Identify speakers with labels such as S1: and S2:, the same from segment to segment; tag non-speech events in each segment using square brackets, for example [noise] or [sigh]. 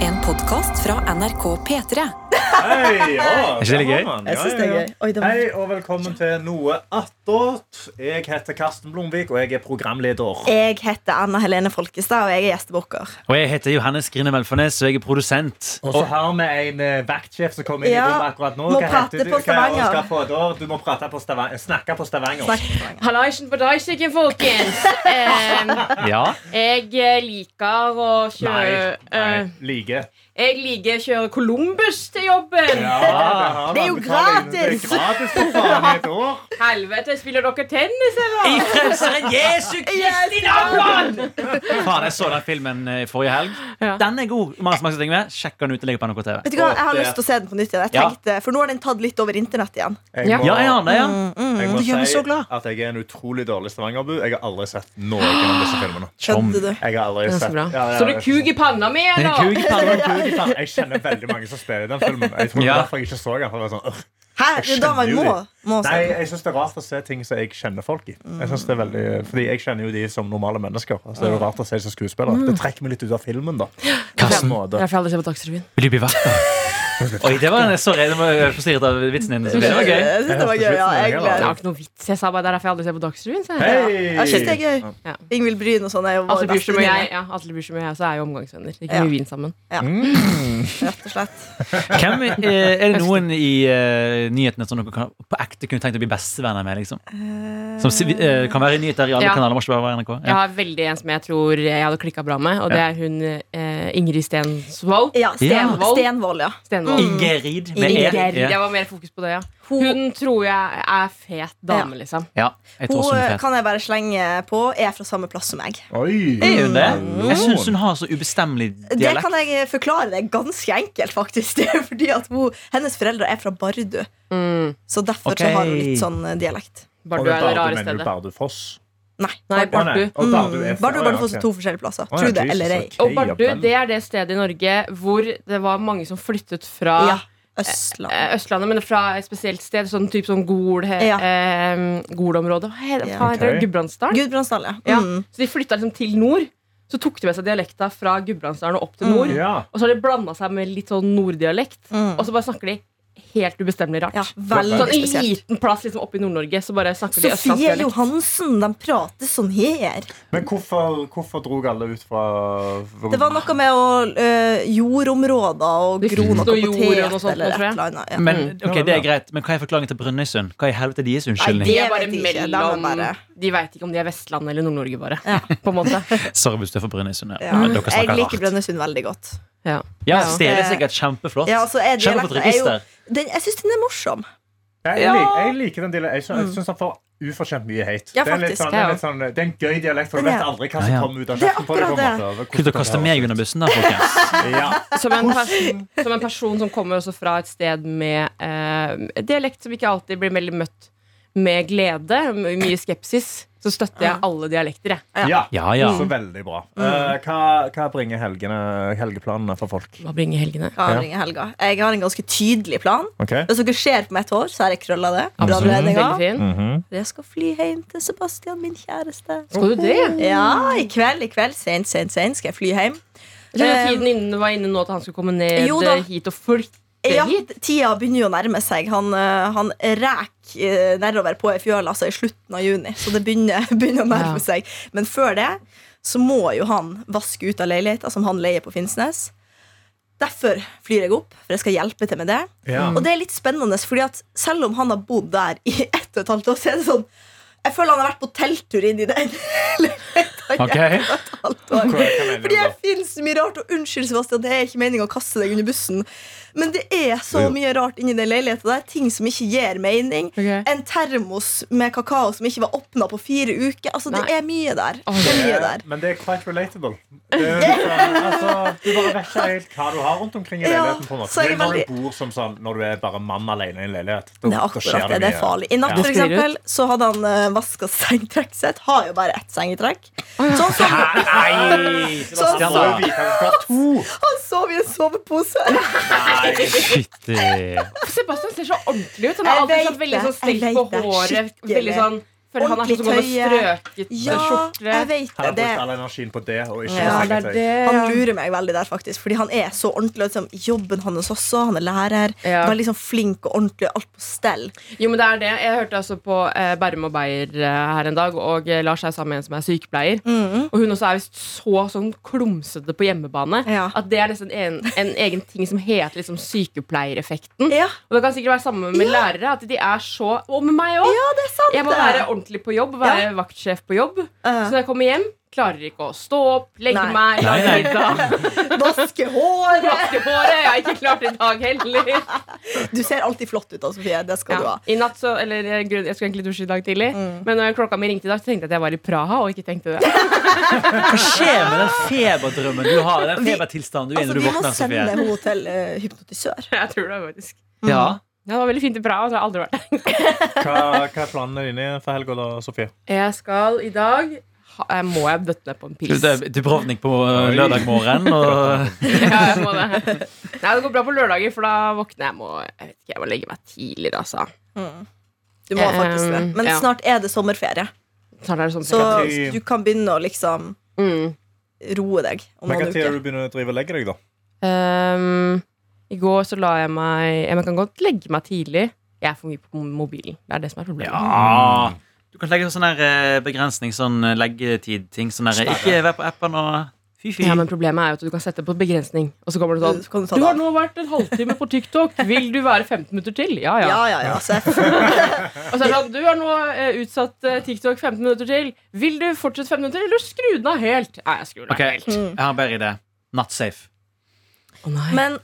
S1: En podkast fra NRK P3.
S2: Hei, ja,
S3: ikke det
S2: der var
S3: gøy?
S2: man.
S4: Jeg
S2: Ja,
S4: syns
S2: ja,
S4: det er
S2: ja.
S4: gøy. Oi, det var-
S2: Hei og velkommen til Noe attåt. Jeg heter Karsten Blomvik, og jeg er programleder.
S4: Jeg heter Anna Helene Folkestad, og jeg er gjestebukker.
S3: Og jeg heter Johannes Grine Melfarnes, og jeg er produsent.
S2: Og så har vi en eh, vaktsjef som kommer inn i
S4: Ja,
S2: rommet akkurat nå.
S4: må
S2: Hva
S4: prate
S2: heter du?
S4: på
S2: Hva-
S4: Stavanger.
S2: Oskar Fodor, Du må prate på Stavanger. snakke på Stavanger.
S4: Snakk for meg.
S5: Hallaisen på dagsikken, folkens. Eh,
S3: Ja.
S5: jeg eh, liker å
S2: Nei,
S5: kjøre
S2: nei,
S5: eh,
S4: [laughs]
S2: like.
S5: Jeg liker å kjøre Columbus til jobben.
S2: Ja,
S4: Det er
S2: han betaler
S4: jo
S2: inn-
S4: gratis.
S2: Det er gratis for faen i et år.
S5: Helvete, spiller dere tennis, eller?
S3: I Frelseren Jesu
S5: Yes, i navnet!
S3: Faen, jeg så den filmen eh, forrige helg.
S5: Ja.
S3: Den er god. Mange som har sett ting med. Sjekk den ut og legg på NRK TV.
S4: Vet du hva, Jeg har
S2: det-
S4: lyst til å se den på nytt igjen. Jeg
S3: Ja.
S4: tenkte, for nå har den tatt litt over internett igjen.
S2: Jeg
S5: Ja.
S2: må-
S3: Ja, jeg har det, ja.
S4: Mm,
S2: Jeg må
S3: Det gjør meg
S2: si
S3: så glad.
S2: at jeg er en utrolig dårlig Stavanger-bu. Jeg har aldri sett noen av disse filmene.
S4: Skjønte du?
S2: Jeg har aldri
S5: Så
S2: sett
S5: bra.
S2: Ja, ja,
S5: Så du
S2: ja.
S5: kuk i panna mi,
S3: Det er en
S5: eller?
S3: kuk i
S4: [laughs]
S3: pannen.
S2: Jeg kjenner veldig mange som spiller i den filmen. Jeg tror det
S3: Ja.
S2: var derfor jeg ikke så den. for det var sånn, «Åh».
S4: Hæ? Det er da man
S2: skjønner jo
S4: må, må se
S2: Nei,
S4: den.
S2: jeg syns det er rart å se ting som jeg kjenner folk i. Jeg synes det er veldig, fordi jeg kjenner jo de som normale mennesker. Altså, det er jo rart å se dem som skuespillere. Det trekker meg litt ut av filmen, da.
S3: Karsten.
S2: På en måte.
S5: Derfor jeg aldri ser på Dagsrevyen.
S3: Vil du bli vakta? Oi, det var jeg så redd for å være forstyrret av vitsen din. så Det var gøy.
S4: Jeg synes det var gøy. Ja, jeg
S5: Det
S4: gleder
S5: var
S4: meg.
S5: ikke noe vits. Jeg sa bare det er derfor jeg aldri ser på Dagsrevyen. sa jeg.
S2: Hei!
S4: Jeg synes det er gøy.
S5: Ja.
S4: Ingvild Bryn og sånn er jo vår
S5: Atle Bjurstrøm og
S4: venninne,
S5: jeg ja, Atle Bjurstrøm og jeg også er jo omgangsvenner. Ikke
S4: Ja.
S5: mye vin sammen.
S4: Rett og slett.
S3: Hvem, eh, er det noen i eh, nyhetene som dere kan, på ekte kunne tenkt å bli bestevenner med? liksom? Som si- eh, kan være i nyheter i alle
S5: Ja.
S3: kanaler. Må ikke bare være NRK.
S5: Jeg
S3: Ja.
S5: har veldig en som jeg tror jeg hadde klikka bra med, og det er hun eh, Ingrid Stensvold.
S4: Ja, Stenvold.
S5: Stenvold.
S4: Stenvold, ja.
S5: Stenvold.
S3: Ingerid. med E.
S5: Ingrid.
S3: Ja.
S5: Jeg var mer fokus på det, ja. Hun tror jeg er fet dame, liksom.
S3: Ja, jeg tror
S4: Hun eh,
S3: også hun er fet.
S4: kan jeg bare slenge på, er fra samme plass som meg.
S2: Oi!
S3: Er hun det? Jeg syns hun har så ubestemmelig
S4: Mm. Det
S3: dialekt.
S4: kan jeg forklare deg ganske enkelt, faktisk. [laughs] Det er fordi at hun, hennes foreldre er fra Bardu. Så derfor
S3: Ok.
S4: så har hun litt sånn eh, dialekt.
S5: Bardu er det rare
S2: mener du
S5: stedet.
S2: Bardufoss?
S4: Nei.
S2: Å,
S5: Nei,
S2: nei.
S5: Bardu.
S2: Å, Bardu er-
S4: Mm. Bardu og
S2: Å,
S4: Bardufoss
S2: ja,
S4: er
S2: ok.
S4: to forskjellige plasser.
S2: Å, ja,
S4: Tro det
S2: Jesus,
S4: eller ei.
S2: ok,
S5: Og Bardu
S2: ja vel.
S5: det er det stedet i Norge hvor det var mange som flyttet fra
S4: Ja.
S5: eh,
S4: Østland.
S5: Østlandet, men fra et spesielt sted. Sånn type sånn Gol, he,
S4: Ja.
S5: eh, Golområdet. Hva he-
S4: Ja.
S5: hva heter
S2: Ok.
S5: det? Gudbrandsdalen?
S4: Gudbrandsdal, ja.
S5: Ja.
S4: Mm.
S5: Så de flytta liksom til nord. Så tok de med seg dialekta fra Gudbrandsdalen og opp til nord.
S2: Ja.
S5: Og så har de blanda seg med litt sånn norddialekt,
S4: Mm.
S5: og så bare snakker de helt ubestemmelig rart.
S4: ja. Veldig
S5: Sånn en
S4: spesielt.
S5: liten plass liksom, oppe i Nord-Norge, så bare snakker de
S4: Sofie
S5: østlandsdialekt.
S4: Johansen, de prater sånn her.
S2: Men hvorfor, hvorfor drog alle ut fra
S4: Det var noe med å, eh, jordområder og
S5: Det
S4: gro
S5: finnes
S4: noe
S5: noe jord
S4: potet
S5: og noe sånt
S4: eller
S5: nå,
S4: et
S5: tror jeg.
S4: eller annet. Ja.
S3: Men
S2: Mm.
S3: ok, det er greit Men hva er forklaringen til Brønnøysund? Hva i helvete er deres unnskyldning?
S5: De
S4: Nei,
S5: er bare
S4: Det vet jeg ikke, det er
S5: mellom
S4: bare-
S5: De veit ikke om de er Vestland eller Nord-Norge, bare. [laughs] På en måte.
S3: Sorry hvis du er fra Brønnøysund. Ja.
S4: Ja.
S3: Men Dere
S4: Jeg
S3: snakker
S4: liker
S3: rart.
S4: Brønnøysund veldig godt.
S5: Ja.
S3: Ja,
S5: Ja.
S3: Stedet er sikkert kjempeflott.
S4: Eh, Ja, altså, er
S3: Kjenner på et
S4: dialekten er jo,
S3: register.
S4: den, jeg syns den er morsom.
S2: Jeg,
S5: Ja.
S2: lik, jeg liker den dialekten. Jeg syns- Jeg syns han får ufortjent mye hate.
S4: Mm. Ja,
S2: det, er litt
S4: faktisk,
S2: sånn, det,
S5: ja.
S2: er litt sånn, det er en gøy dialekt, for du
S4: Den
S2: vet
S4: er-
S2: aldri hva
S3: Ja, ja.
S2: som kommer ut av
S4: Det er
S2: kjeften på deg.
S4: akkurat det.
S3: Slutt å kaste meg under bussen, da, folkens.
S2: Ja.
S5: Som, en person, som en person som kommer også fra et sted med eh, dialekt som ikke alltid blir veldig møtt med glede, m- mye skepsis, så støtter jeg alle dialekter, jeg.
S2: Ja.
S3: [laughs] Ja, ja.
S4: Mm.
S2: Så veldig bra. Eh, hva, hva bringer helgene, helgeplanene for folk?
S5: Hva bringer helgene?
S4: Ja,
S2: Ja.
S4: ring i helga. Jeg har en ganske tydelig plan.
S2: Ok?
S4: Hvis dere ser på mitt hår, så har jeg krølla det. Bra
S3: Absolutt.
S5: Mm, Veldig
S4: anledninger.
S5: fin.
S2: Mhm.
S4: Jeg skal fly hjem til Sebastian, min kjæreste.
S5: Skal du det?
S4: Mm. Ja, i kveld, i kveld. Sent, sent, sent skal jeg fly hjem.
S5: Jeg trodde tiden innen var inne nå at han skulle komme ned
S4: Eh,
S5: eh,
S4: Jo da.
S5: hit og flytte
S4: Ja,
S5: hit.
S4: tida begynner jo å nærme seg. Han, eh, han ræk eh, nedover på ei fjøl altså, i slutten av juni, så det begynner, [laughs] begynner å nærme
S5: Ja.
S4: seg. Men før det så må jo han vaske ut av leiligheta som han leier på Finnsnes. Derfor flyr jeg opp, for jeg skal hjelpe til med det.
S2: Ja.
S4: Og det er litt spennende, fordi at selv om han har bodd der i ett og et halvt år, så er det sånn Jeg føler han har vært på telttur inni den leiligheta i
S3: Ok.
S4: ett og et halvt år.
S2: Hva- hva mener du
S4: Fordi
S2: da?
S4: jeg finner så mye rart, og unnskyld, Sebastian, det er ikke meningen å kaste deg under bussen, men det er så
S2: Jo.
S4: mye rart inni den leiligheten der. Ting som ikke gir mening.
S5: Ok.
S4: En termos med kakao som ikke var åpna på fire uker. Altså, det
S5: Nei.
S4: er mye der.
S5: Åh,
S4: Det er mye
S2: Eh,
S4: der.
S2: Men det er quite
S4: [laughs]
S2: relatable. Det er sånn, altså, du bare vet ikke helt hva du har rundt omkring i
S4: Ja,
S2: leiligheten. på en måte.
S4: så jeg
S2: Det er når
S4: veldig-
S2: du bor som sånn, når du er bare mann alene i en leilighet. Da,
S4: Det er
S2: da skjer
S4: akkurat det. Det
S2: mye.
S4: er farlig. I natt
S2: Ja.
S4: for eksempel, så hadde han uh, vaska sengetrekket sitt. Har jo bare ett Sånn sengetrekk. Så han sov,
S3: Nei!
S4: [laughs] så
S2: Man
S4: han
S2: må
S4: sov,
S2: jo vite at du skal ha to.
S4: han sov i en sovepose.
S3: Fytti
S5: Sebastian ser så ordentlig ut.
S4: Jeg
S5: Han er alltid
S4: vet
S5: sånn veldig
S4: det.
S5: sånn stelt på
S4: Jeg vet det.
S5: håret.
S4: Skikkelig.
S5: Veldig sånn For han er sånn som går
S4: Ordentlig
S5: med strøket eh,
S4: Ja,
S5: skjorte.
S4: jeg vet
S2: Han har
S4: det.
S2: brukt all energien på det. Og ikke
S5: Ja,
S2: på
S5: det er
S2: sekretær.
S5: det.
S4: Han lurer meg veldig der, faktisk. Fordi han er så ordentlig. og Liksom, jobben hans også. Han er lærer.
S5: Ja.
S4: Veldig sånn flink og ordentlig. Alt på stell.
S5: Jo, men det er det. Jeg hørte altså på eh, Bærum og Beyer eh, her en dag, og eh, Lars er sammen med en som er sykepleier.
S4: Mm.
S5: Og hun også er visst så sånn klumsete på hjemmebane
S4: Ja.
S5: at det er nesten en, en egen ting som heter liksom sykepleiereffekten.
S4: Ja,
S5: Og det kan sikkert være samme med lærere, at de er så Og med meg òg!
S4: ja, det er sant!
S5: Jeg må
S4: det.
S5: være ordentlig på jobb, være vaktsjef på jobb. Så
S4: Eh,
S5: når jeg kommer hjem, klarer ikke å stå opp, legge
S4: Nei.
S5: meg, lage
S3: Nei, nei.
S5: middag,
S4: Vaske hår!
S5: vaske håret. Jeg har ikke klart det i dag heller.
S4: Du ser alltid flott ut, da, Sofie. Det skal du
S5: [laughs] Ja. Mm.
S4: ha.
S5: I natt så, eller eh, grunn- Jeg skulle egentlig dusje i dag tidlig, men når klokka mi ringte i dag, så tenkte jeg at jeg var i Praha. og ikke [laughs] tenkte det
S3: Hva skjer med den feberdrømmen du har? Den
S4: Vi-
S3: febertilstanden du er i
S4: Altså,
S3: når du
S4: vi må
S3: våkner?
S4: sende
S3: Sofie?
S4: henne til eh, hypnotisør.
S5: Jeg tror det faktisk
S3: Ja.
S5: Ja, Det var veldig fint i Praha. så har jeg aldri vært der
S2: Hva, hva er planene dine for helga, da, Sofie?
S5: Jeg skal i dag ha, eh, Må jeg bøtte ned på en
S3: Skal
S5: pils?
S3: du til- til Provnik på eh, lørdag morgen?
S4: [laughs]
S3: Og
S5: [laughs] Ja, jeg må det. Nei, det går bra på lørdager, for da våkner jeg. Jeg må, jeg vet ikke, jeg må legge meg tidligere, altså.
S4: Mm. Du må faktisk det.
S5: Eh,
S4: Men
S5: ja.
S4: snart er det sommerferie,
S5: Snart er det sånn
S4: så
S2: Hvilken tid-
S4: du kan begynne å liksom
S5: mm.
S4: roe deg om
S2: Men hva
S4: noen
S2: tid er
S4: uker.
S2: det du begynner å drive og legge deg, da?
S5: Ehm, I går så la jeg meg Jeg kan godt legge meg tidlig. Jeg er for mye på mobilen. Det er det som er problemet.
S3: Ja.
S5: Mm.
S3: Du kan legge sånn her eh, begrensning, sånn eh, leggetid-ting. Sånn her, ikke vær på appen og fy-fy.
S5: Ja, men Problemet er jo at du kan sette på begrensning, og så kommer det sånn
S4: Så kan du ta
S5: Du
S4: det
S5: har
S4: av.
S5: nå vært en halvtime på TikTok. Vil du være 15 minutter til? Ja, ja.
S4: Ja, ja, ja. Så jeg
S5: Og så er det sånn, du har nå eh, utsatt eh, TikTok 15 minutter til. Vil du fortsette 15 minutter, eller skru den av helt? Nei, jeg skrur den av
S3: Ok,
S5: helt.
S3: Jeg har en bedre idé. Not safe.
S4: Men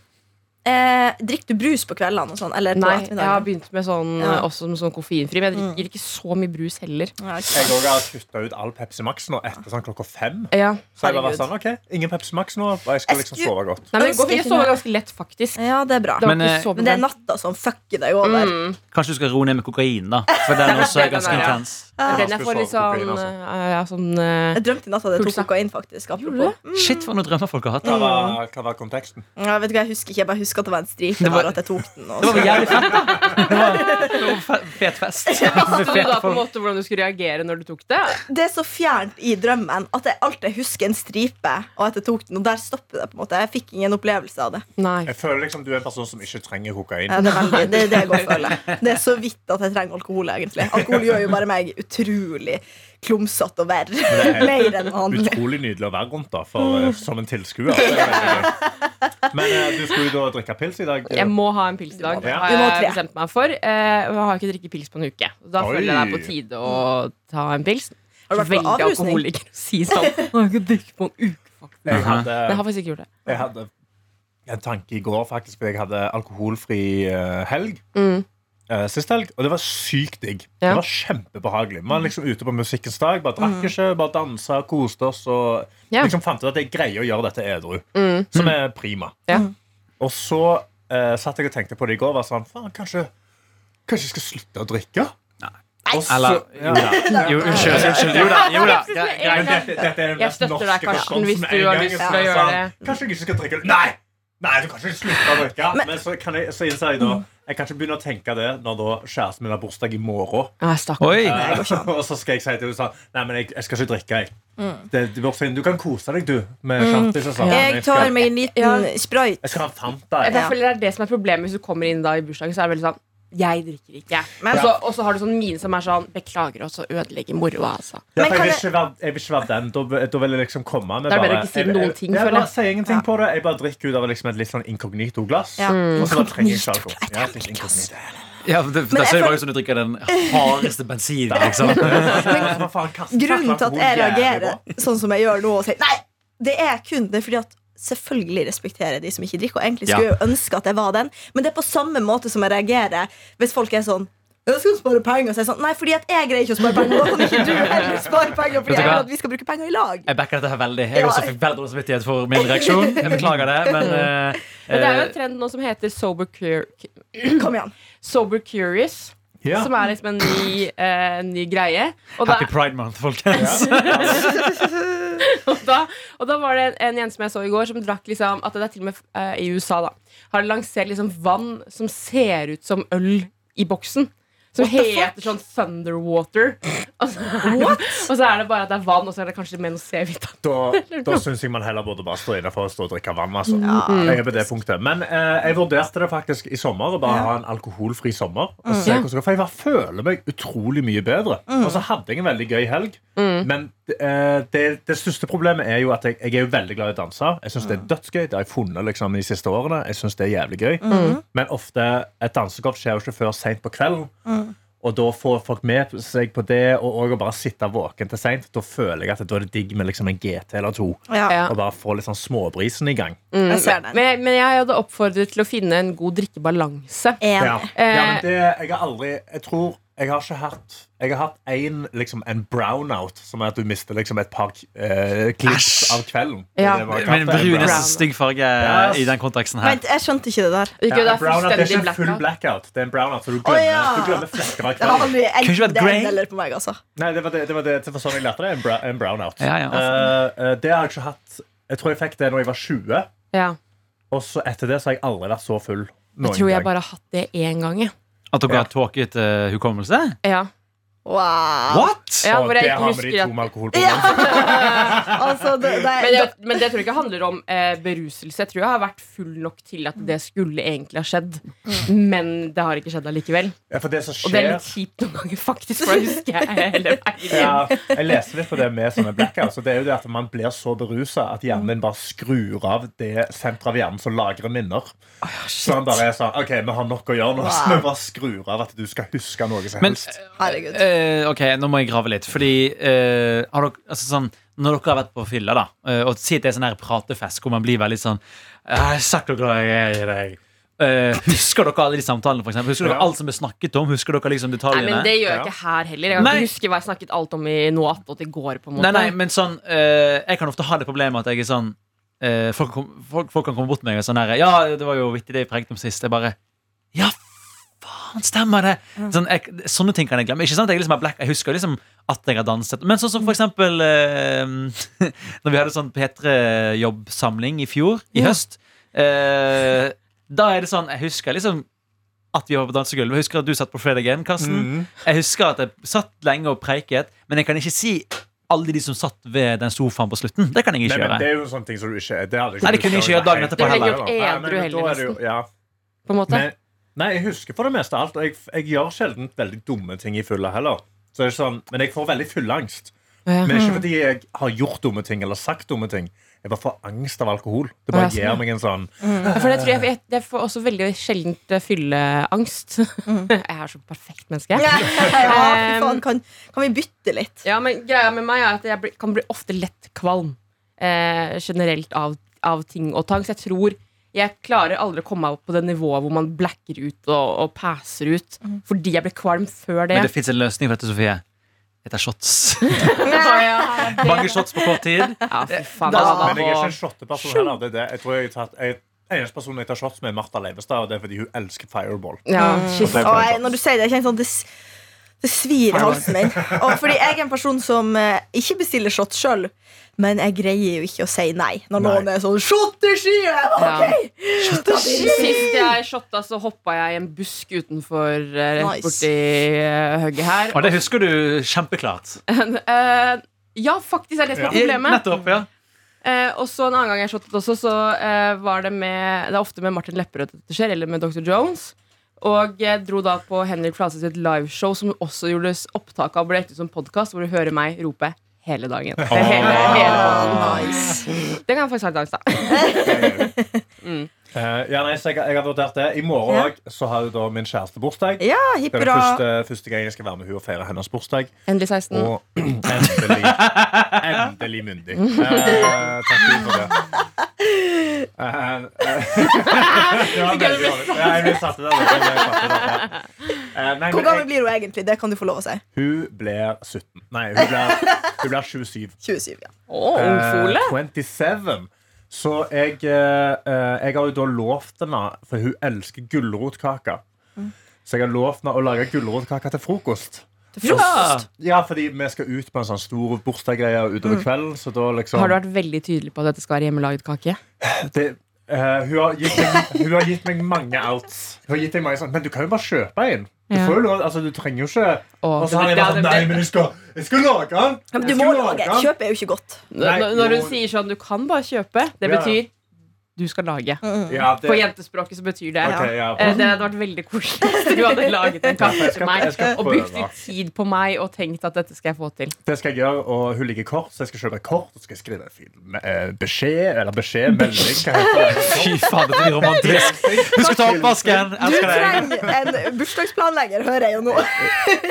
S4: eh, drikker du brus på kveldene og sånn? Eller på
S5: Nei, jeg har
S4: ettermiddagen?
S5: begynt med sånn eh,
S4: Ja. Mm.
S5: også med sånn koffeinfri, men jeg drikker ikke så mye brus heller.
S4: Ja, ikke
S2: Jeg
S4: sant.
S2: også har kutta ut all Pepsi Max nå etter sånn klokka fem.
S5: Ja.
S2: Så jeg bare var
S4: Herregud.
S2: sånn, ok, ingen Pepsi Max nå, og jeg skal
S4: Jeg
S2: liksom
S4: skulle-
S2: sove godt.
S5: Nei, men det går fint. Jeg
S4: Ønsker
S5: sover
S4: ikke
S5: ganske lett, faktisk.
S4: ja, det er bra.
S5: Det var
S3: Men,
S5: ikke
S3: eh,
S5: så
S4: Men det er
S5: bra.
S4: natta som fucker deg over.
S5: Mm.
S3: Kanskje du skal roe ned med kokain, da. For den også er ganske
S5: Den er, ja.
S3: intens.
S5: Den jeg får litt sånn
S2: Kokain, altså.
S5: eh, ja, sånn eh,
S4: Jeg drømte i natt at jeg
S5: Pulsa.
S4: tok kokain, faktisk. Apropos.
S5: Gjorde
S3: Shit, for noen drømmer folk har hatt.
S2: Hva var, hva var konteksten?
S4: Ja, vet du hva, Jeg husker ikke, jeg bare husker at det var en stripe
S3: Det var-
S4: der, at jeg tok den. Og
S3: Det
S4: så.
S3: var vel jævlig fett, da. Det var, det var fe- fet fest.
S5: Visste du da på en
S3: folk.
S5: måte hvordan du skulle reagere når du tok det?
S4: Det er så fjernt i drømmen at jeg alltid husker en stripe, og at jeg tok den, og der stopper det. på en måte Jeg fikk ingen opplevelse av det.
S5: Nei.
S2: Jeg føler liksom du er en person som ikke trenger kokain.
S4: Ja, det, er veldig, det, er det, jeg går og føler. det er så vidt at jeg trenger alkohol, egentlig. Alkohol gjør jo bare meg utrolig klumsete og verre.
S2: er helt
S4: Mer enn vanlig.
S2: Utrolig nydelig å være rundt da, for, eh,
S5: Mm.
S2: som en tilskuer. Det er veldig gøy. Men eh, du skulle jo da drikke pils i dag.
S5: Jeg må ha en pils i dag.
S2: Du må det.
S5: Har
S4: Du må
S5: jeg
S4: tre.
S5: bestemt meg for. Eh, og jeg har ikke drikket pils på en uke. Da
S2: Oi.
S5: føler jeg det er på tide å ta en pils.
S4: Har du vært på
S5: Veldig
S4: avrusning?
S5: alkoholiker å
S4: [laughs]
S5: si sånn. Jeg har ikke drukket på en uke, faktisk.
S2: Jeg hadde,
S5: Men Jeg har faktisk ikke gjort det.
S2: jeg hadde en tanke i går, faktisk, fordi jeg hadde alkoholfri eh, helg.
S5: Mm.
S2: eh, Sist helg, og det var sykt digg.
S5: Ja. Mm.
S2: Det var kjempebehagelig. Man liksom ute på musikkens dag, bare drakk ikke, bare dansa, koste oss. Og
S5: Ja.
S2: liksom fant ut at jeg greier å gjøre dette edru,
S5: Mm.
S2: som er prima.
S5: Ja.
S3: Mm.
S2: Og så eh, satt jeg og tenkte på det i går. Var sånn, faen, kanskje, kanskje jeg skal slutte å drikke? Og så-
S3: Eller jo da. Jo, unnskyld. unnskyld. Jo da. Jo da. Gre-
S2: Men
S3: greit.
S2: dette, dette er den
S5: Jeg
S2: mest
S5: støtter deg,
S2: norske
S5: Karsten,
S2: responsen
S5: hvis
S2: med
S5: du
S2: en
S5: har
S2: gang.
S5: lyst
S2: Jeg
S5: til å
S2: sa
S5: gjøre
S2: sånn, Kanskje jeg ikke skal drikke Nei! Nei, du kan ikke slutte å drikke. Men, så, kan jeg, så innser jeg da Jeg kan ikke begynne å tenke det når da kjæresten min har bursdag i morgen.
S5: Nei, stakkar.
S3: Oi.
S4: Nei, det går ikke an.
S2: [laughs] og så skal jeg si til henne sånn Nei, men jeg, jeg skal ikke drikke, jeg.
S5: Mm.
S2: Det, det er bursdagen. du kan kose deg, du, med shanties og sånn. men
S4: Jeg
S2: skal-
S4: tar meg en liten [laughs] sprite.
S2: Jeg skal ha en Fanta.
S5: Jeg
S2: Jeg.
S4: Ja.
S5: føler det er det som er problemet hvis du kommer inn da i bursdagen. Så er det veldig sånn jeg drikker ikke.
S4: Men-
S5: og, så, og så har du sånn mine som er sånn Beklager oss å ødelegge moroa, altså.
S2: Ja, for
S4: Men kan
S2: jeg, vil
S4: jeg-
S2: ikke være, jeg vil ikke være den. Da, da vil jeg liksom komme med
S5: Da er det
S2: bare
S5: bedre å ikke si
S2: jeg- jeg-
S5: noen ting,
S2: Jeg
S5: føler jeg.
S2: bare sier ingenting på det. Jeg bare drikker ut av liksom et litt sånn inkognito-glass.
S4: Ja.
S2: Og så bare trenger jeg ikke alkohol.
S4: Inkognito,
S2: Ja, litt inkognito.
S3: Ja, det, det,
S4: Men jeg
S3: ser jo
S4: føler-
S3: bare ut som du drikker den hardeste bensinen. Liksom.
S4: Grunnen til at jeg reagerer sånn som jeg gjør nå, og sier nei, det er kun det er fordi at Selvfølgelig respekterer jeg de som ikke drikker, og egentlig skulle
S3: Ja.
S4: jeg jo ønske at jeg var den, men det er på samme måte som jeg reagerer hvis folk er sånn jeg skal spare penger, og så er jeg sånn Nei, fordi at jeg greier ikke å spare penger. Da kan ikke du heller spare penger,
S3: Vet du
S4: fordi jeg
S3: hva?
S4: vil at vi skal bruke penger i lag.
S3: Jeg backer dette her veldig. Jeg
S4: Ja.
S3: også fikk veldig dårlig samvittighet for min reaksjon. Jeg beklager det, men eh,
S5: Men det er jo en
S3: eh,
S5: trend nå som heter sober, cur
S4: Kom igjen.
S5: sober curious.
S2: Ja.
S5: Som er liksom en ny, eh, en ny greie. Og da,
S3: Happy Pride Month, folkens.
S5: og, da, og da var det en, en jente som jeg så i går, som drakk liksom At det er til og med eh, i USA, da. Har lansert liksom vann som ser ut som øl i boksen. Som
S4: What the
S5: heter sånn Thunderwater. Og så, er det, [laughs] og så er det bare at det er vann, og så er det kanskje med noe C-vitamin.
S2: Da, da syns jeg man heller burde bare stå inne for å stå og drikke vann. Altså. Jeg er på det punktet. Men eh, jeg vurderte det faktisk i sommer å bare ha en alkoholfri sommer. Og se hvordan det går, For jeg bare føler meg utrolig mye bedre. Og så hadde jeg en veldig gøy helg. Men eh, det, det største problemet er jo at jeg, jeg er jo veldig glad i å danse. Jeg syns det er dødsgøy. Det har jeg funnet liksom, de siste årene. Jeg synes det er jævlig gøy Men ofte et dansekort skjer jo ikke før seint på kvelden. Og da får folk med seg på det, og, og å bare sitte våken til seint. Da føler jeg at da er det digg med liksom en GT eller to.
S4: Ja,
S5: Ja.
S2: Og bare få litt sånn småbrisen i gang.
S4: jeg ser den.
S5: Men, jeg- men jeg hadde oppfordret til å finne en god drikkebalanse.
S2: Ja.
S4: Enig.
S5: Eh.
S2: ja, men det Jeg har aldri Jeg tror jeg har ikke hatt Jeg har hatt en, liksom, en brownout, som er at du mister liksom et par eh, klips
S3: Æsj.
S2: av kvelden.
S5: Ja.
S2: Det var
S3: Men
S2: kaffe,
S3: brun
S2: en
S3: er så
S5: Brown.
S3: stygg farge
S2: Yes.
S3: i den konteksten her.
S4: Vent, jeg skjønte ikke det der.
S5: Ikke,
S2: Ja,
S5: det
S2: en
S5: er
S2: brownout, det er
S5: fullstendig
S2: ikke en full
S5: blackout.
S2: blackout. Det er en brownout, så du glemmer,
S4: ja.
S2: du glemmer flekker av
S4: Det
S2: kvelden.
S4: har aldri
S3: Kunne ikke vært
S4: det er
S3: grey?
S4: en deler på meg, altså.
S2: Nei, det var, det, det var det, det var sånn jeg lærte det. En, bra, en brownout.
S3: Ja, ja.
S2: Eh, eh, det har jeg ikke hatt Jeg tror jeg fikk det når jeg var 20,
S5: Ja.
S2: og så etter det så har jeg aldri vært så full.
S5: Jeg tror jeg bare har hatt det én gang. jeg.
S3: At dere
S2: Ja.
S3: har tåket eh, hukommelse?
S5: Ja.
S4: Wow.
S3: What?!
S5: Ja, Eh, hvor jeg
S2: det
S5: ikke
S2: har vi de
S5: husker
S2: to
S5: at-
S2: med alkohol på.
S4: Ja. [laughs] altså, det, det,
S5: Men,
S4: det,
S5: jeg, men det tror jeg ikke handler om eh, beruselse. Jeg tror jeg har vært full nok til at det skulle egentlig ha skjedd. Men det har ikke skjedd allikevel.
S2: [laughs] Ja, for det som
S5: Og det er
S2: skjer
S5: litt kjipt noen ganger, faktisk. For da husker jeg hele veien.
S2: ja, Jeg leste litt på det med sånne blackouts. og Det er jo det at man blir så berusa at hjernen din bare skrur av det senteret av hjernen som lagrer minner. så han bare er sånn OK, vi har nok å gjøre nå, så vi bare skrur av at du skal huske noe som
S3: Men
S2: helst.
S4: Herregud.
S3: eh, ok, nå må jeg grave litt. Fordi eh, har dere, altså, sånn, når dere har vært på fylla, da, eh, og si at det er sånn her pratefest hvor man blir veldig sånn «Jeg har sagt hvor glad jeg er i deg. Eh, husker dere alle de samtalene? For eksempel? husker dere
S2: Ja.
S3: alt som ble snakket om? Husker dere liksom
S5: Nei,
S3: detaljene?
S5: men Det gjør jeg
S2: Ja.
S5: ikke her heller. Jeg kan
S3: Nei.
S5: ikke huske hva jeg snakket alt om i noe attåt i går. på en måte
S3: Nei, nei, men sånn eh, Jeg kan ofte ha det problemet at jeg er sånn eh, folk, kom, folk, folk kan komme bort til meg og sånn her Ja, det var jo vittig det jeg prekket om sist. Jeg bare Ja, faen, stemmer det! Sånn, jeg, sånne ting kan jeg glemme. Ikke sånn at Jeg liksom er black Jeg husker liksom at jeg har danset. Men sånn som
S5: Mm.
S3: for eksempel eh, [laughs] Når vi hadde sånn P3-jobbsamling i fjor, i høst eh, Da er det sånn Jeg husker liksom at vi var på dansegulvet. Jeg husker at du satt på Fred Again,
S2: Mm.
S5: Mm.
S3: Karsten. Jeg husker at jeg satt lenge og preiket, men jeg kan ikke si alle de som satt ved den sofaen på slutten. Det kan jeg
S2: Nei,
S3: ikke
S2: men det
S3: gjøre.
S2: er jo en sånn ting som du ikke Det, hadde
S3: Nei, det kunne jeg ikke gjøre dagen etterpå
S2: Nei,
S3: heller.
S5: Det ville jeg
S2: Nei,
S5: gjort
S2: men
S5: edru
S2: da er det jo-
S5: heller,
S2: ja.
S5: på en måte
S2: Men, nei, jeg husker for det meste alt. Og jeg, jeg gjør sjelden veldig dumme ting i fylla heller. Så det er sånn, men jeg får veldig fylleangst.
S5: Ja.
S2: Men ikke fordi jeg har gjort dumme ting eller sagt dumme ting. Jeg bare får angst av alkohol. Det bare
S5: Ja, sånn, ja.
S2: gir meg en sånn
S5: Ja, For det tror jeg, jeg, jeg får også veldig sjeldent eh, fylleangst. [laughs] Jeg er så perfekt menneske.
S4: Ja, fy faen, kan, kan vi bytte litt?
S5: Ja, men Greia med meg er at jeg blir, kan bli ofte lett kvalm eh, generelt av, av ting og tang. Så jeg tror jeg klarer aldri å komme meg opp på det nivået hvor man blacker ut og, og passer ut. Fordi jeg ble kvalm før det.
S3: Men det fins en løsning for dette, Sofie. Det er shots. [laughs]
S5: ja, [laughs]
S3: Mange shots på kort tid.
S5: fy faen. altså.
S3: Da-
S5: da- da-
S2: Men jeg er ikke
S5: da-
S2: en shotteperson heller. Det er det. Jeg tror jeg har tatt, jeg, eneste personen jeg tar shots med, er Martha Leivestad, og det er fordi hun elsker Fireball.
S5: ja, shit.
S4: Og jeg, når du sier det, jeg kjenner sånn det, s- det svir i halsen min. Og fordi jeg er en person som eh, ikke bestiller shots sjøl, men jeg greier jo ikke å si nei når
S2: Nei.
S4: noen er sånn Shot i skyen! Ok! Shot i
S5: Sist jeg shotta, så hoppa jeg i en busk utenfor eh,
S4: Nice.
S5: rett borti eh, hugget her.
S3: Og det husker du kjempeklart.
S5: Eh, ja, faktisk er det som er problemet.
S3: Nettopp, ja.
S5: Eh, og så en annen gang jeg shottet også, så eh, var det med Det er ofte med Martin Lepperød dette skjer, eller med Dr. Jones. Og jeg dro da på Henrik Fladseth sitt liveshow, som også gjorde opptak av og ble lagt ut som podkast, hvor du hører meg rope hele dagen. Det er Hele, hele podden.
S4: Nice.
S5: Den kan jeg faktisk ha i dag, da.
S2: Eh, ja, nei, så jeg, jeg har vurdert det. I morgen
S4: Ja.
S2: også, så har jo da min kjæreste bursdag.
S4: Ja,
S2: Det
S4: hipp
S2: er den
S4: hurra.
S2: første, første gang jeg skal være med hun og feire hennes bursdag.
S5: Endelig 16.
S2: Og endelig, [laughs] endelig myndig. Eh, takk Gud for det. Eh, eh, det var veldig dårlig. Ja, jeg ble satt i det. jeg ble satt i det, ja. Eh, nei,
S4: Hvor
S2: men
S4: gammel
S2: jeg,
S4: blir hun egentlig? Det kan du få lov å si.
S2: hun blir 17. Nei, hun blir, hun blir 27.
S4: 27. ja
S5: Å,
S2: Eh,
S5: ungfole.
S2: 27. Så jeg, eh, eh, jeg har jo da lovt henne, for hun elsker gulrotkake Så jeg har lovt henne å lage gulrotkake til frokost.
S3: Frokost.
S2: Ja, fordi vi skal ut på en sånn stor bursdaggreie utover kvelden. Så da liksom
S5: Har du vært veldig tydelig på at dette skal være hjemmelaget kake?
S2: det, eh, hun, har gitt meg, hun har gitt meg mange outs. Hun har gitt meg mange sånn Men du kan jo bare kjøpe en. Du,
S5: Ja.
S2: får jo lov, altså, du trenger jo ikke
S5: Åh,
S2: Og så har jeg
S5: det-
S2: vært sånn
S5: det-
S2: Nei, men jeg skal, jeg skal lage den!
S4: Men du
S2: Jeg
S4: må
S2: skal
S4: lage.
S2: den!»
S4: Kjøp er jo ikke godt.
S2: Nei,
S5: Når, når hun
S2: jo.
S5: sier sånn 'du kan bare kjøpe', det
S2: Ja.
S5: betyr du skal lage.
S2: Ja, det,
S5: På jentespråket så betyr det
S2: Ok, ja.
S5: eh, Det hadde vært veldig koselig hvis du hadde laget en
S2: Mm. Jeg
S5: kaffe til
S2: skal-
S5: meg
S2: jeg skal
S5: og
S2: prøve.
S5: brukt litt tid på meg og tenkt at dette skal jeg få til.
S2: det skal jeg gjøre, og hun liker kort, så jeg skal kjøpe kort. Og så skal jeg skrive en fin eh, beskjed Eller beskjed, melding. Hva heter det?
S3: Fy faen, dette blir romantisk. Husk å ta oppvasken.
S4: Du
S3: Elsker deg.
S4: trenger en bursdagsplanlegger, hører jeg jo nå.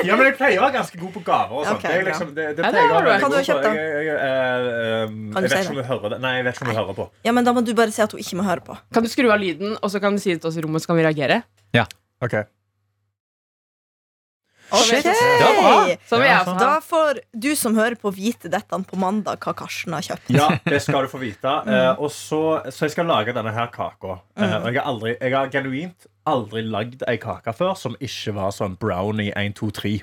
S2: Ja, men jeg pleier å være ganske god på gaver. og sånt.
S4: Ok,
S2: Det er
S4: bra.
S2: liksom, det, det
S5: Ja,
S2: pleier
S5: det
S2: jeg å være
S5: har du.
S2: veldig
S4: Hva
S2: god
S4: du har
S2: på. Jeg, jeg, eh, ehm,
S4: Kan du
S2: jeg vet
S4: si
S2: ikke om hun hører det. Nei, jeg vet ikke om hun hører på.
S4: Ja, men Da må du bare si at hun ikke må høre på.
S5: Kan du skru av lyden, og så kan du si det til oss i rommet, så kan vi reagere?
S4: Ok.
S3: var
S5: Så vil
S3: Ja,
S5: jeg også
S2: sånn.
S5: ha.
S4: Da får du som hører på, vite dette på mandag hva Karsten har kjøpt.
S2: Ja, det skal du få vite.
S4: [laughs]
S2: Eh, og så, så jeg skal lage denne her kaka. Eh,
S4: Mm.
S2: og jeg har, aldri, jeg har genuint aldri lagd ei kake før som ikke var sånn brownie 1, 2, 3.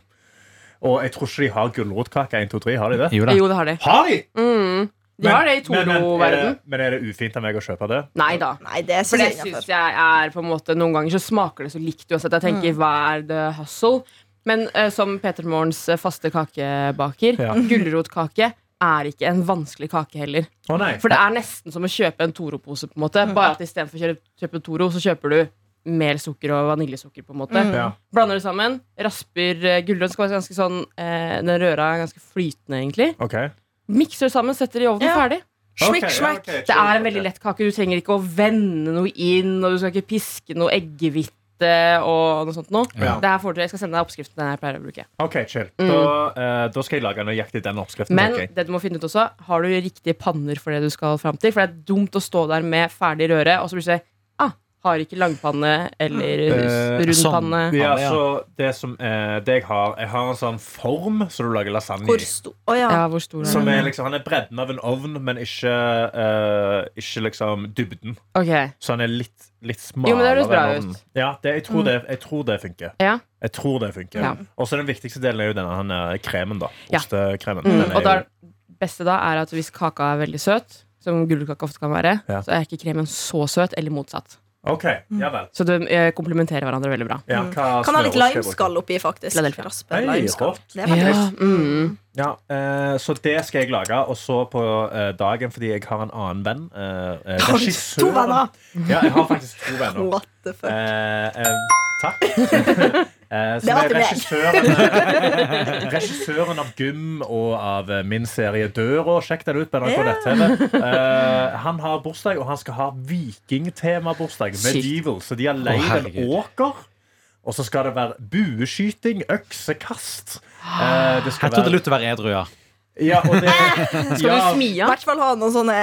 S2: Og jeg tror ikke de har gulrotkake 1, 2, 3. Har de det?
S3: Jo da.
S5: Jo, det har de.
S2: Har de?
S5: Mm. De
S2: Men-
S5: har det i
S2: men- men,
S5: Toro-verden.
S2: eh, Men er det ufint av meg å kjøpe det?
S5: Nei da.
S4: Nei, det altså. synes
S5: For det
S4: jeg
S5: syns
S4: innenfor.
S5: jeg er på en måte Noen ganger så smaker det så likt uansett. Jeg
S2: Mm.
S5: tenker hva er the hustle? Men eh, som Peter Morgens eh, faste kakebaker,
S2: Ja.
S5: gulrotkake er ikke en vanskelig kake heller.
S2: Å nei.
S5: For det er nesten som å kjøpe en Toro-pose, på en måte. Bare at istedenfor å kjøpe, kjøpe Toro, så kjøper du mer sukker og vaniljesukker, på en måte.
S2: Ja.
S5: Blander det sammen, rasper eh, gulrot skal være ganske sånn eh, Den røra er ganske flytende, egentlig.
S2: OK.
S5: Mikser det sammen, setter det i ovnen,
S4: Ja.
S5: ferdig.
S2: Ok,
S4: Smikk,
S2: ja,
S4: smekk.
S2: ok,
S5: Det er
S2: chill,
S5: en veldig
S2: ok.
S5: lett kake. Du trenger ikke å vende noe inn, og du skal ikke piske noe eggehvite og noe sånt noe.
S2: Ja.
S5: Det her får dere- Jeg skal sende deg oppskriften jeg pleier å bruke.
S2: OK, chill.
S5: Mm.
S2: Da, eh, da skal jeg lage nøyaktig den oppskriften.
S5: Men
S2: tenker jeg.
S5: det du må finne ut også, har du riktige panner for det du skal fram til? For det er dumt å stå der med ferdig røre, og så blir det ah, har ikke langpanne eller
S2: Eh,
S5: rund
S3: sånn.
S5: panne.
S2: ja,
S3: Ja.
S2: så det som eh, det jeg har Jeg har en sånn form som du lager lasagne
S4: Hvor
S2: i.
S4: stor Å ja.
S5: Ja, hvor stor er
S2: Som
S5: den?
S2: er liksom, han er bredden av en ovn, men ikke, eh, ikke liksom dybden.
S5: Ok,
S2: Så han er litt, litt smalere.
S5: Jo, men det høres bra
S2: enn ovnen.
S5: ut. Mm.
S2: Ja, det, jeg, tror det, jeg tror det funker.
S5: Ja.
S2: Jeg tror det funker.
S5: Ja.
S2: Og så den viktigste delen er jo denne han, eh, kremen, da.
S5: Ja.
S2: Ostekremen.
S5: Mm,
S2: Den er
S5: og da,
S2: jo-
S5: beste da er at hvis kaka er veldig søt, som gulrotkake ofte kan være,
S2: Ja.
S5: så er ikke kremen så søt, eller motsatt.
S2: OK. Ja vel.
S5: Så de eh, komplementerer hverandre veldig bra.
S2: Ja, hva
S4: Mm. Kan ha
S2: smørost
S4: litt
S2: skal jeg bruke?
S4: limeskall oppi, faktisk.
S5: Philadelphia.
S4: Raspe
S2: Hei,
S4: limeskall.
S2: rått.
S4: Det er veldig godt.
S5: mm.
S2: Ja, eh, så det skal jeg lage. Og så på eh, dagen, fordi jeg har en annen venn eh, eh,
S4: Har du
S2: regissøren-
S4: to venner?
S2: Ja, jeg har faktisk to venner.
S4: [laughs] What the fuck?
S2: Eh, eh,
S4: [laughs]
S2: takk. Eh,
S4: Det
S2: som er
S4: var til meg. [laughs]
S2: regissøren, regissøren av Gym og av eh, min serie Døra. Sjekk den ut på NRK Nett-TV. Eh, han har bursdag, og han skal ha vikingtemabursdag.
S5: Sykt.
S2: Medieval. Så de har
S3: Å,
S2: leid en
S3: herregud.
S2: åker. Og så skal det være bueskyting, øksekast. Eh, det skal
S3: Jeg trodde
S2: være-
S3: Luther var edru, ja.
S2: ja, og det,
S4: [laughs]
S5: Skal
S2: ja,
S5: du smi
S4: I
S5: av?
S4: hvert fall ha noen sånne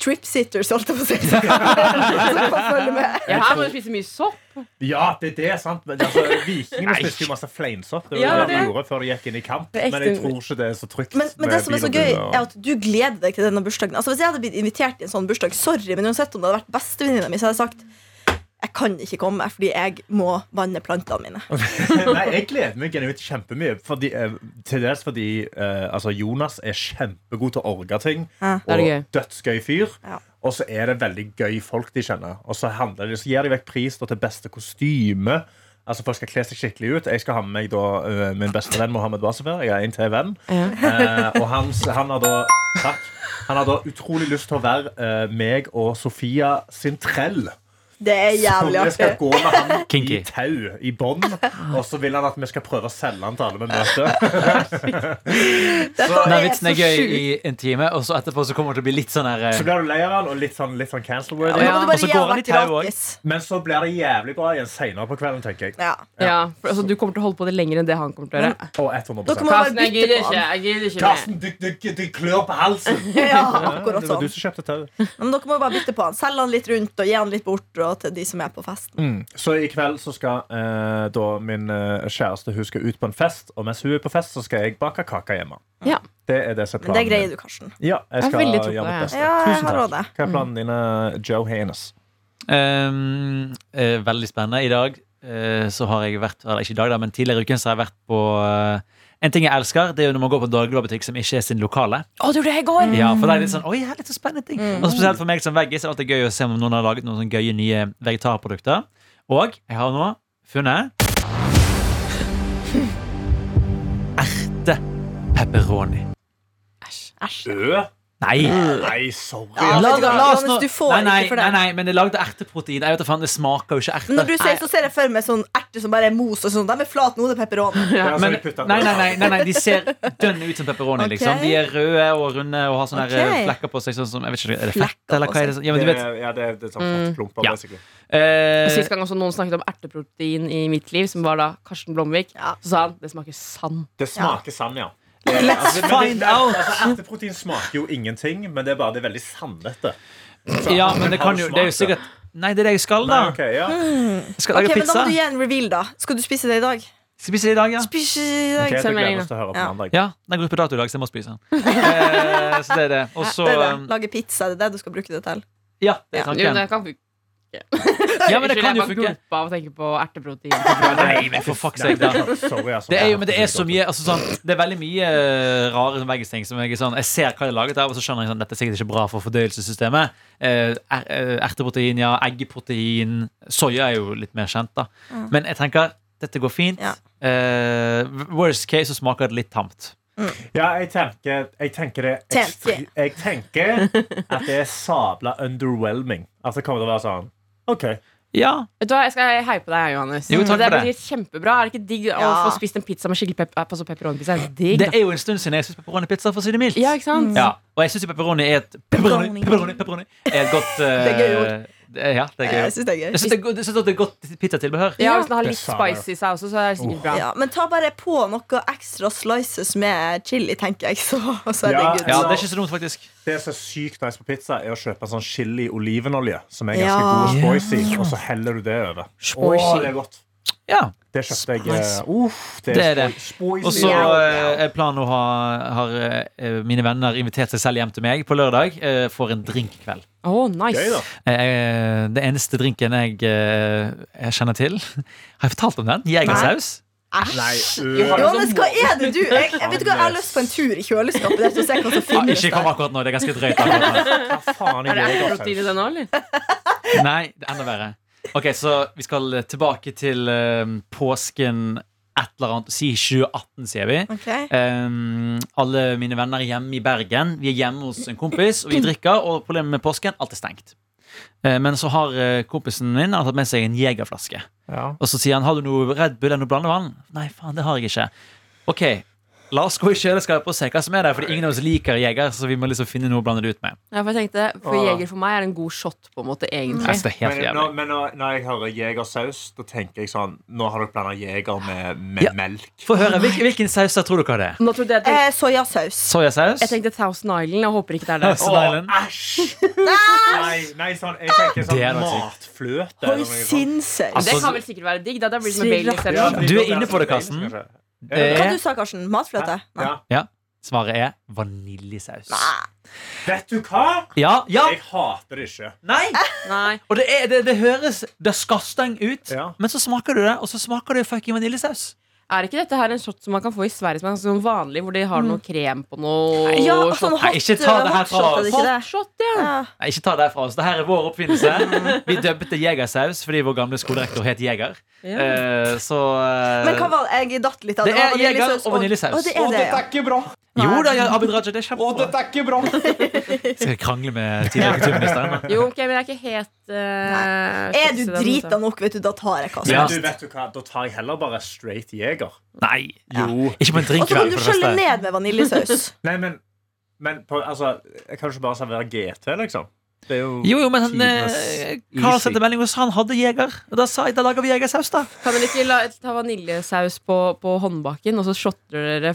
S4: tripsitters, holdt jeg på å
S2: [laughs]
S4: si. Som kan følge med.
S5: Ja, her må du spise mye sopp.
S2: ja, det, det er sant. Men altså, vikingene spiste jo masse fleinsopp. Det var
S5: Ja,
S2: det de
S5: det.
S2: gjorde før de gikk inn i kamp.
S5: Det er
S2: Men jeg
S5: ekte-
S2: tror ikke det er så trygt.
S4: Men, men det
S2: med
S4: som er
S2: bil
S4: så
S2: og
S4: gøy,
S2: buer og-
S4: er at du gleder deg til denne bursdagen. Altså Hvis jeg hadde blitt invitert i en sånn bursdag, sorry, men uansett om det hadde vært bestevenninna mi, så hadde jeg sagt jeg kan ikke komme fordi jeg må vanne plantene mine.
S2: [laughs] Nei, jeg gleder meg genuint kjempemye. Fordi, eh, til dels fordi eh, altså Jonas er kjempegod til å orge ting.
S4: Ja,
S5: da er det
S2: og dødsgøy fyr.
S4: Ja.
S2: Og så er det veldig gøy folk de kjenner. Og så, handler det, så gir de vekk pris da, til beste kostyme. Altså Folk skal kle seg skikkelig ut. Jeg skal ha med meg da eh, min beste venn Mohammed Wasefer. Jeg har en til venn.
S5: Ja.
S2: Eh, og hans, han har da Takk. Han har da utrolig lyst til å være eh, meg og Sofia sin trell.
S4: Det er
S2: Så vi
S4: jævlig
S2: Sånn, skal
S4: artig.
S2: gå med han
S3: Kinky.
S2: i tau, i bånd, og så vil han at vi skal prøve å selge han til alle vi [laughs] møter.
S4: Dette
S3: Den
S4: er
S3: vitsen
S4: så
S3: er gøy
S4: sjukt.
S3: i en time, og så etterpå så kommer det til å bli litt sånn her
S2: Så
S3: eh,
S2: blir du lei av han og litt sånn, litt sånn
S4: Ja,
S2: cancel-worthy.
S4: men da må
S3: og
S4: du
S5: Ja,
S3: så
S4: bare gi
S3: går han i
S4: vært
S3: tau også.
S4: gratis.
S2: Men så blir det jævlig bra igjen senere på kvelden, tenker jeg.
S4: Ja.
S5: Ja, for altså, Du kommer til å holde på det lenger enn det han kommer til å gjøre.
S2: Og
S4: Dere
S2: 100
S4: må bare
S5: Karsten, jeg
S4: bytte
S5: gidder
S4: på
S5: ikke.
S4: han.
S5: jeg gidder ikke mer.
S2: Karsten, du, du, du klør på halsen!
S4: [laughs]
S3: [laughs]
S4: Ja,
S2: Det
S4: akkurat
S2: var
S4: sånn.
S2: du som kjøpte tau.
S4: Men dere må bare bytte på han. Selge han litt rundt og gi han litt bort og til de som er på festen.
S2: Mm. Så i kveld så skal eh, da min eh, kjæreste hun skal ut på en fest, og mens hun er på fest, så skal jeg bake kake hjemme.
S5: Ja.
S2: Det er det som er
S4: Men det
S2: planen.
S4: greier du, Karsten.
S2: Ja, jeg
S5: Jeg har
S2: skal
S5: veldig tro på
S2: gjøre
S5: det,
S2: mitt
S5: jeg.
S2: beste.
S4: Ja, jeg
S2: Tusen
S4: har
S2: takk.
S4: råd det.
S2: Hva er planen din, Joe Haynes?
S3: ehm, eh, Veldig spennende. I dag eh, så har jeg vært Eller ikke i dag, da, men tidligere i uken så har jeg vært på eh, En ting jeg elsker, det er jo når man går på en dagligvarebutikk som ikke er sin lokale.
S5: Å, det gjorde jeg i går!
S3: Ja, for det er litt sånn, oi, her er litt så spennende ting
S4: Mm.
S3: Og spesielt for meg som veggis er det alltid gøy å se om noen har laget noen sånne gøye nye vegetarprodukter Og jeg har nå funnet pepperoni.
S4: Æsj.
S2: Ø?
S3: Nei!
S2: Nei, sorry.
S4: Ja,
S2: altså.
S4: vet du hva,
S3: la oss nå-
S4: Mm. Johannes, du får
S3: nei, nei,
S4: ikke for
S3: nei,
S4: det.
S3: nei, men det er lagd av erteprotein. Jeg vet da faen, Det smaker jo ikke erte.
S4: Når du ser, så ser jeg for meg sånn erter som bare er mos og sånn. De er flate nå, det er
S3: [laughs]
S4: pepperoni.
S2: Ja, så
S3: Men,
S2: jeg Altså, putter-
S3: nei, nei, nei, nei, nei, de ser dønn ut som pepperoni.
S4: Ok.
S3: Liksom. De er røde og runde og har sånne her,
S4: Ok.
S3: eh, flekker på seg. Sånn som, jeg vet ikke, er det
S4: Flekker
S3: fett, eller
S4: på
S3: hva er det?
S4: seg.
S3: som- Ja, men du vet, Mm.
S2: Det- ja, det, det er sånn fettklumper,
S3: Ja.
S2: basically.
S3: eh,
S5: Sist gang også noen snakket om erteprotein i mitt liv, som var da Karsten Blomvik.
S4: Ja.
S5: Så sa han det smaker sand.
S2: Det smaker sand, ja.
S3: Let's
S2: Men det-
S3: find
S2: det-
S3: out!
S2: Altså, Erteprotein smaker jo ingenting, men det er bare det er veldig sandete. Så-
S3: Ja, men det
S2: Har
S3: kan
S2: du
S3: jo Det er jo Mm,
S2: smakt det?
S3: sikkert Nei, det er det jeg skal,
S2: Nei,
S3: da.
S2: ok, ja.
S3: Jeg skal
S4: Ok,
S3: lage
S4: men Da
S3: pizza.
S4: må du gi en reveal, da. Skal du spise det i dag?
S3: Spise det i dag, ja.
S4: Spise det i dag.
S2: Ok, jeg gleder oss til å høre
S4: Ja.
S2: på mandag.
S3: Ja, Den går ut på dato i dag, så jeg må
S4: [laughs]
S3: spise den. Eh, så det er det. Og så
S4: Det er det.
S3: eh,
S4: Lage pizza, det er det du skal bruke det til.
S3: Ja, det er
S5: Jo, det
S3: tanken.
S5: kan funke.
S3: Ja, men det
S5: Unnskyld,
S3: kan
S5: jeg
S3: jo
S5: bare
S3: funke.
S5: gulpa av å tenke på erteprotein.
S3: Nei, men for fuck's sake, da.
S2: Sorry, altså.
S3: Det er jo, men det er så mye altså, sånn, Det er veldig mye eh, rare sånn veggisting som jeg er sånn Jeg ser hva det er laget av, og så skjønner jeg sånn dette er sikkert ikke bra for fordøyelsessystemet. Eh, er- eh, erteprotein, ja. Eggeprotein. Soya er jo litt mer kjent, da. Men jeg tenker dette går fint.
S4: Ja.
S3: Eh, worst case så smaker det litt tamt.
S2: Ja, jeg tenker, jeg tenker det
S4: Tenker.
S2: Jeg tenker at det er sabla underwhelming. At det kommer til å være sånn OK.
S3: Ja.
S5: [laughs] Vet du hva, Jeg skal heie på deg, Johannes.
S3: Jo, takk
S5: det
S3: for
S5: er
S3: det.
S5: sikkert kjempebra. Er det ikke digg å
S4: Ja.
S5: få spist en pizza med skikkelig pep altså pepperoni-pizza? er Digg.
S3: Det er jo en stund siden jeg spiste pepperoni-pizza, for å si det mildt.
S5: Ja, ikke sant?
S3: Ja, og jeg syns pepperoni er et Pepperoni, pepperoni,
S4: Pepperoni.
S3: pepperoni er et godt eh,
S4: [laughs] Det er gøy ord.
S3: det er- Ja, det er gøy
S4: Eh, Jeg
S3: ord.
S4: synes det er
S3: Jeg
S4: gøy.
S3: syns det, er godt- jeg synes at det er godt pizzatilbehør.
S5: Ja, Hvis den har
S2: Det
S5: litt
S2: sa jeg.
S5: spicy saus også, så er det sikkert bra.
S4: Ja, men ta bare på noe ekstra slices med chili, tenker jeg. Så, så er det
S2: Ja.
S4: good.
S3: Ja, det er ikke så dumt, faktisk.
S2: Det som er sykt nice på pizza, er å kjøpe sånn chili olivenolje, som er ganske
S4: Ja.
S2: god og spoisy, og så heller du det over.
S5: Spoisy.
S2: Åh, det er godt.
S3: Ja,
S2: Det kjøpte jeg. eh,
S3: Spice.
S2: Uff, det
S3: Det er
S2: er
S3: det.
S2: spoi- spoisy.
S3: Og så
S2: Ja.
S3: eh, er planen å ha har, eh, mine venner invitert seg selv hjem til meg på lørdag eh, for en drinkkveld.
S5: Åh, nice.
S2: Gøy, da.
S3: Eh, det eneste drinken jeg, eh, jeg kjenner til [laughs] Har jeg fortalt om den? Jegersaus.
S2: Nei,
S5: Johannes,
S3: [laughs] liksom
S2: øh,
S4: Johannes, hva er det du Jeg, jeg vet ikke hva, jeg har lyst på en tur i kjøleskapet. Der, så ser jeg hva som
S3: Ah,
S4: finnes
S3: ikke kom
S4: der.
S3: akkurat nå, det er ganske drøyt. akkurat nå.
S2: hva faen
S5: Er
S2: er
S5: det erteprotein i
S2: jegersaus?
S5: den òg, eller?
S3: Nei, det er enda verre. Ok, så vi skal tilbake til eh, påsken et eller annet. Si 2018, sier vi.
S4: Ok.
S3: Ehm, alle mine venner er hjemme i Bergen. Vi er hjemme hos en kompis, og vi drikker. Og problemet med påsken alt er stengt. Eh, Men så har eh, kompisen min han har tatt med seg en jegerflaske.
S2: Ja.
S3: Og så sier han har du noe Red Bull eller noe blandevann. Nei, faen, det har jeg ikke. Ok, la oss gå i kjøleskapet og se hva som er der, Fordi ingen av oss liker jeger. Så vi må liksom finne noe å blande det ut med.
S5: Ja, for jeg tenkte, for
S2: Åh.
S5: Jeger for meg er en god shot, på en måte, egentlig.
S3: Altså, det er helt
S2: Men,
S3: jævlig.
S2: når, men når, når jeg hører jegersaus, da tenker jeg sånn Nå har dere blanda jeger med, med
S3: Ja.
S2: melk.
S3: Få høre, hvilken, hvilken saus tror dere det er?
S5: Nå trodde jeg, tenkte,
S4: Eh, soyasaus.
S3: Soyasaus?
S5: jeg tenkte Thousand Island. Jeg håper ikke det er [laughs] det.
S3: Thousand Island?
S2: æsj!
S3: [laughs]
S2: Nei, nei, sånn, jeg tenker
S3: Det er
S2: sånn
S3: noe
S2: matfløte. eller
S4: Oi,
S2: noe sånt.
S4: sinnssaus.
S5: det
S3: altså,
S5: kan vel sikkert være digg. Da, da blir det som
S4: Sriracha.
S5: Baileys eller noe.
S3: Du er inne på det, Karsten.
S2: Ja.
S3: eh,
S4: Hva du sa Karsten? Matfløte? Nei.
S2: Ja.
S3: Svaret er vaniljesaus.
S2: Vet du hva?
S3: Ja, ja,
S2: Jeg hater det ikke.
S3: nei!
S5: Nei.
S3: Og det, er, det, det høres disgusting ut,
S2: Ja.
S3: men så smaker du det, og så smaker det fucking vaniljesaus.
S5: Er ikke dette her en shot som man kan få i Sverige, som er sånn vanlig, hvor de har noe krem på noe?
S4: Mm. Ja,
S5: shot?
S4: sånn
S3: Nei,
S4: hot,
S3: ikke ta det her
S4: hot
S3: fra
S4: shot, er det ikke det?
S5: Hot shot, ja.
S4: Ja.
S3: Nei, ikke ta det fra oss. Det her er vår [laughs] oppfinnelse. Vi døpte det jegersaus fordi vår gamle skolerektor het Jeger.
S5: Ja.
S3: Eh, så eh,
S4: Men hva var det? Jeg datt litt
S3: Det
S4: av
S3: er jeger
S4: vaniljesaus
S3: og vaniljesaus.
S4: Å, det er det, ja.
S6: er ikke bra!
S3: Jo da, ja, Abid Raja, det er kjempebra.
S6: er ikke bra!
S3: [laughs] Skal jeg krangle med tidligere kulturministeren? men-
S5: Jo, ok, men jeg er ikke helt uh,
S4: Er du drita nok, vet du, da tar jeg hva som
S3: Ja.
S4: helst.
S2: Men du vet du hva, Da tar jeg heller bare straight jeger.
S3: Nei. Ikke på en
S4: Og så kan
S3: drinkkveld,
S4: du
S3: for
S4: skjølle
S3: det første.
S4: ned
S3: [laughs]
S4: med vaniljesaus.
S2: Nei, men, men på, altså, Jeg kan jo ikke bare servere GT, liksom. Det er jo
S3: Jo, jo, men han, eh,
S2: tidenes
S3: Karl
S2: easy.
S3: sendte melding hos han hadde jeger. Og da sa jeg da lager vi jegersaus, da.
S4: Ah,
S5: Kan dere ikke la, ta vaniljesaus på, på håndbaken, og så shotter dere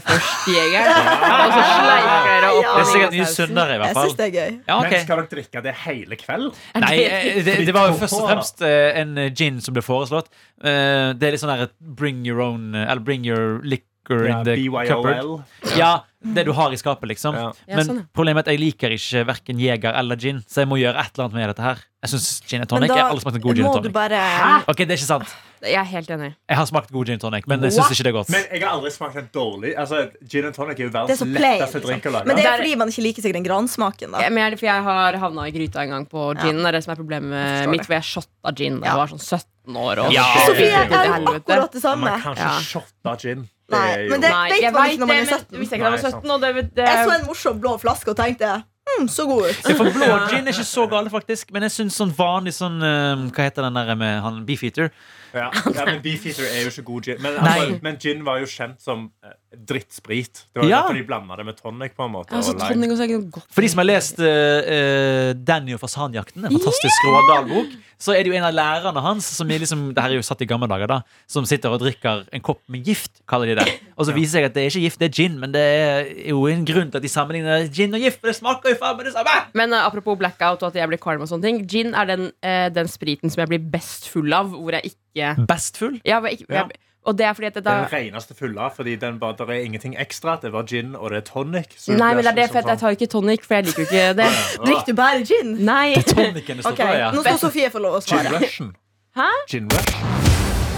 S4: [laughs]
S5: først jegeren? Og så sleiker dere opp
S3: Det er sikkert mye
S5: vaniljesausen?
S3: sunnere, i hvert
S4: Jeg
S3: fall.
S4: syns det er gøy.
S3: Ja, ok.
S2: Men skal dere drikke det hele kveld?
S3: Nei, eh, det, det var jo
S2: Fordi
S3: først og
S2: Cola-
S3: fremst eh, en eh, gin som ble foreslått. Eh, Det er litt sånn der et bring your own eh, Eller bring your liquor
S2: Ja,
S3: in the cupboard.
S2: BYOL.
S3: Ja, det du har i skapet, liksom.
S2: Ja.
S5: Ja,
S3: Men
S5: sånn, ja.
S3: problemet er at jeg liker ikke verken jeger eller gin, så jeg må gjøre et eller annet med dette her. Jeg syns gin og tonic
S4: Men
S3: jeg
S4: da
S3: har aldri smakt en god gin
S4: må
S3: og
S4: du
S3: tonic.
S4: bare
S3: Ok, det er ikke sant.
S5: Jeg er helt enig.
S3: Jeg har smakt god gin og tonic, men jeg syns ikke det er godt.
S2: Men jeg har aldri smakt en dårlig altså, Gin and tonic er jo
S4: Det er
S2: verdens
S4: så plain.
S2: letteste drink å
S4: Liksom.
S2: lage.
S4: Men det
S5: Der-
S4: er fordi man ikke liker seg den gransmaken,
S5: Ja,
S4: da.
S5: men jeg, for jeg har havna i gryta en gang på gin. Det er det som er problemet
S4: forstår
S5: mitt, for jeg shotta gin da
S4: Ja.
S5: jeg var sånn 17 år. Og
S3: Ja,
S5: så
S4: Sofie
S5: fylte
S4: jeg
S5: jeg til
S4: er jo
S5: helvete.
S4: akkurat det
S2: Man
S4: samme.
S2: kan ikke
S5: Ja.
S2: shotte gin. Det
S4: Nei,
S2: er jo
S4: men det-
S5: Nei,
S4: vet
S5: jeg
S4: man ikke når
S5: vet det,
S4: man er
S5: men
S4: søtten.
S5: hvis jeg ikke
S2: Nei,
S5: var
S2: sant.
S5: 17 og det, det,
S4: Jeg så en morsom blå flaske og tenkte hm, så god ut.
S3: Ja, for blå gin er ikke så gale, faktisk. Men jeg syns sånn vanlig sånn eh, Hva heter den der med han Beefeater?
S2: Ja. ja, men Beefeater er jo ikke god gin. Men,
S3: Nei.
S2: altså, men gin var jo kjent som eh, drittsprit. Det var jo
S3: Ja.
S2: derfor de blanda det med tonic. på en måte
S5: altså,
S2: og lime.
S5: Tonic også er ikke noe godt.
S3: For de som har lest eh, eh, Danny og fasanjakten, en fantastisk Rådal-bok, så er det jo en av lærerne hans som er liksom, det her er jo satt i gamle dager da Som sitter og drikker en kopp med gift, kaller de det. Og så viser det seg at det er ikke gift, det er gin. Men det er jo en grunn til at de sammenligner gin og gift, for det smaker jo faen meg det samme!
S5: Men eh, apropos blackout og at jeg blir kvalm og sånne ting. Gin er den, eh, den spriten som jeg blir best full av, hvor jeg ikke
S3: Best full.
S5: Ja, hvor jeg, ikke-
S2: Ja.
S5: jeg, og det er fordi at det,
S2: Det er den
S5: da,
S2: reneste fulla, fordi den bare, der er ingenting ekstra. Det var gin, og det er tonic. så
S5: Nei, men
S2: blir
S5: det er det, for
S2: liksom
S5: at jeg tar ikke tonic, for jeg liker jo ikke det.
S2: sånn-
S4: Drikker du bare gin?
S5: Nei.
S3: Tonicen det står
S5: Ok,
S3: på, ja.
S4: Nå skal Sofie få lov å
S2: Gin
S4: svare.
S2: rushen.
S5: Hæ?
S2: Gin rush.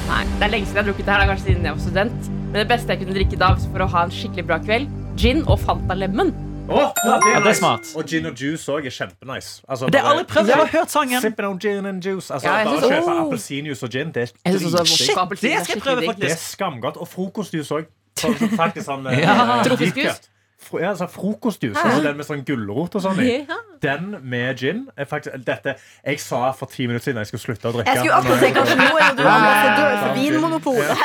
S5: Nei, Det er lenge siden jeg har drukket det her. Det er kanskje siden jeg var student. Men det beste jeg kunne drikke da for å ha en skikkelig bra kveld, gin og Fanta Lemon.
S2: Åh, ja,
S3: Ja, det er
S2: nice.
S3: smart.
S2: Og gin og juice òg er kjempenice. Altså,
S3: Det har jeg aldri prøvd. Jeg har bare hørt sangen.
S2: Sipping on gin and juice. Altså,
S5: Ja, jeg
S2: bare
S5: synes-
S2: kjøpe
S3: Oh.
S5: Åh.
S2: appelsinjuice og gin. Det er
S5: Jeg synes også
S2: dritdigg.
S5: vodka og appelsin
S3: det
S5: er
S3: skal jeg
S5: skikkelig
S3: prøve,
S5: digg.
S2: Det er skamgodt. Og frokostjuice òg. Faktisk sånn eh,
S3: [laughs] Ja.
S2: deep
S5: Tropeskjus?
S2: cut. Fro- Ja, altså frokostjuice, altså den med sånn gulrot og sånn i. Den med gin er faktisk dette, Jeg sa for ti minutter siden jeg skulle slutte å drikke.
S4: Jeg skulle akkurat si kanskje nå er jo du ambassadør for Vinmonopolet.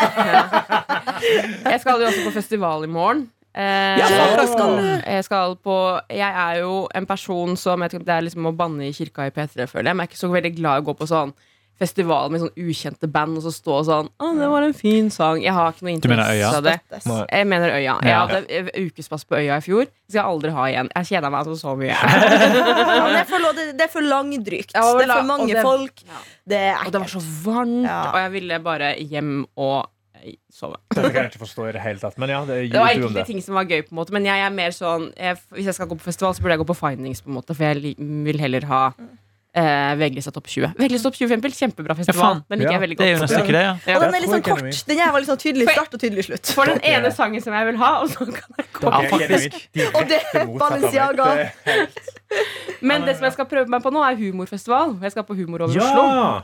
S5: Jeg skal jo også på festival i morgen. Eh,
S3: Ja, faen,
S2: det skal
S3: Mm.
S5: jeg skal på Jeg er jo en person som jeg, vet ikke om Det er liksom å banne i kirka i P3, føler jeg. Men jeg er ikke så veldig glad i å gå på sånn festival med sånn ukjente band og så stå og sånn Å, det var en fin sang. Jeg har ikke noe
S3: Du mener
S5: interesse
S3: Øya?
S5: av det.
S4: Støttes.
S5: Jeg mener Øya. Jeg
S3: Ja.
S5: hadde eh, ukespass på Øya i fjor. Det skal jeg aldri ha igjen. Jeg kjeda meg altså så
S3: [laughs]
S5: mye.
S4: Ja, men det, er for, lo- det- det er for langdrygt.
S5: Ja, og
S4: Det er
S5: la-
S4: for mange
S5: og det-
S4: folk.
S5: Ja.
S4: Det er
S5: Og det var
S4: ekkelt.
S5: så varmt,
S4: Ja.
S5: og jeg ville bare hjem og eh, sove.
S2: Dette kan jeg ikke forstå i det hele tatt. Men ja, det er
S5: Det var
S2: YouTube om
S5: enkelte
S2: det.
S5: ting som var gøy, på en måte men jeg er mer sånn jeg, hvis jeg skal gå på festival, så burde jeg gå på Findings, på en måte for jeg li- vil heller ha eh, VG-lista Topp 20. VG-lista Topp 20 for eksempel, Kjempebra festival.
S3: faen.
S5: Den liker
S2: Ja.
S5: jeg veldig
S3: Det er jo
S5: godt.
S3: nesten ikke det, ja.
S4: Og den er
S2: tror
S4: litt sånn
S2: jeg ikke det er
S4: kort. Den her var litt sånn tydelig start og tydelig slutt.
S5: For den
S2: Ok.
S5: ene sangen som jeg vil ha. Og så kan jeg gå.
S3: Ja, faktisk.
S2: [laughs]
S4: Og det er Balenciaga.
S5: Men det som jeg skal prøve meg på nå, er humorfestival. Jeg skal på Humor over
S2: Ja!
S5: Oslo.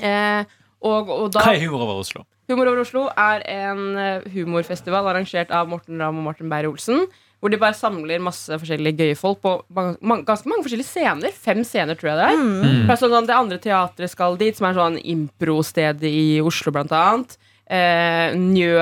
S5: Eh, og, og da,
S3: Hva er humor over Oslo?
S5: Humor over Oslo er en eh, humorfestival arrangert av Morten Ramm og Martin Beyer-Olsen. Hvor de bare samler masse forskjellige gøye folk på mange, mange, ganske mange forskjellige scener. Fem scener, tror jeg det er. Det, er sånn, at det andre teatret skal dit, som er sånn impro-sted i Oslo, blant annet. Eh,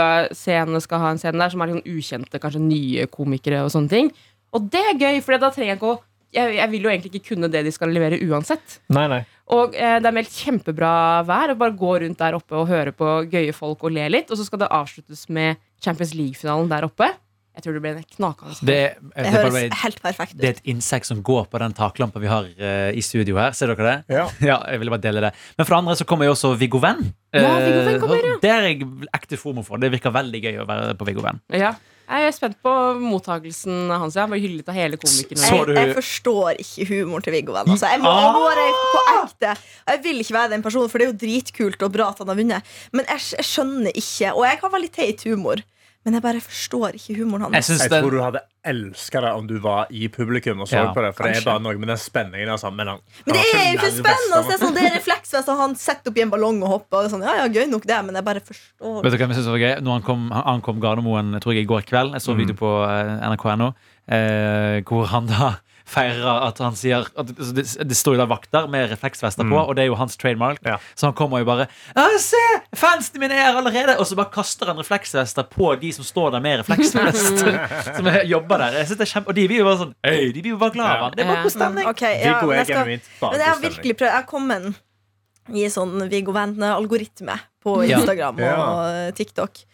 S5: Njø-scene skal ha en scene der, som er sånn ukjente, kanskje nye komikere og sånne ting. Og det er gøy, for da trenger jeg ikke å jeg, jeg vil jo egentlig ikke kunne det de skal levere uansett.
S2: Nei, nei.
S5: Og eh, det er meldt kjempebra vær. Og bare gå rundt der oppe og høre på gøye folk og le litt. Og så skal det avsluttes med Champions League-finalen der oppe. Jeg tror det blir en knakende
S3: Det, er- by
S4: Det
S3: the way,
S4: høres helt perfekt
S3: Det
S4: ut.
S3: er et insekt som går på den taklampa vi har eh, i studio her. Ser dere det?
S2: Ja.
S3: jeg ville bare dele det. Men for det andre så kommer jo også Viggo Venn.
S5: Ja, Viggo Venn kommer,
S3: Eh, Der er jeg ekte fomo for. Det virker veldig gøy å være på Viggo Venn.
S5: Ja. Jeg er spent på mottakelsen hans. Jeg ble hyllet av hele komikeren.
S3: Så
S4: Jeg,
S3: du-
S4: jeg forstår ikke humoren til Viggo Venn. Altså, jeg må
S3: Ah!
S4: nå er jeg på ekte Jeg vil ikke være den personen, for det er jo dritkult og bra at han har vunnet. Men jeg, jeg skjønner ikke Og jeg har veldig teit humor, men jeg bare forstår ikke humoren
S3: Jeg
S4: hans.
S3: synes
S2: Jeg
S3: den,
S2: tror du hadde elska det om du var i publikum og så
S3: Ja,
S2: på det. For det
S3: kanskje.
S2: er bare noe med den spenningen. Altså. Men, han,
S4: Men det er
S2: han
S4: jo
S2: har
S4: ikke
S2: lang
S4: spennende! Det
S2: vest,
S4: er sånn, det er refleksvest, og han setter opp i en ballong og hopper. Og det er sånn, ja, ja, gøy nok det, men jeg bare forstår
S3: Vet du hva jeg synes var gøy? Når han kom, han ankom Gardermoen jeg tror jeg i går kveld, jeg så en video på eh, nrk.no, eh, hvor han da [laughs] feirer at han sier at altså, det, det står jo da vakter med refleksvester på, og det er jo hans trademark.
S2: Ja.
S3: Så han kommer jo bare «Ja, Se! Fansene mine er her allerede! Og så bare kaster han refleksvester på de som står der med refleksvest. [laughs] som jobber der. Jeg synes det er kjempe, og de blir jo bare sånn Hei, de blir jo bare glad av han. Det er
S5: Ja. Mm.
S3: bare god stemning.
S4: Ok, ja,
S2: Viggo
S4: men
S2: er
S4: jeg skal
S2: genuint bare
S4: Men jeg har
S2: god stemning.
S4: virkelig prøvd. Jeg har kommet i sånn Viggo Ventne-algoritme på
S3: Ja.
S4: Instagram og
S2: Ja.
S4: TikTok.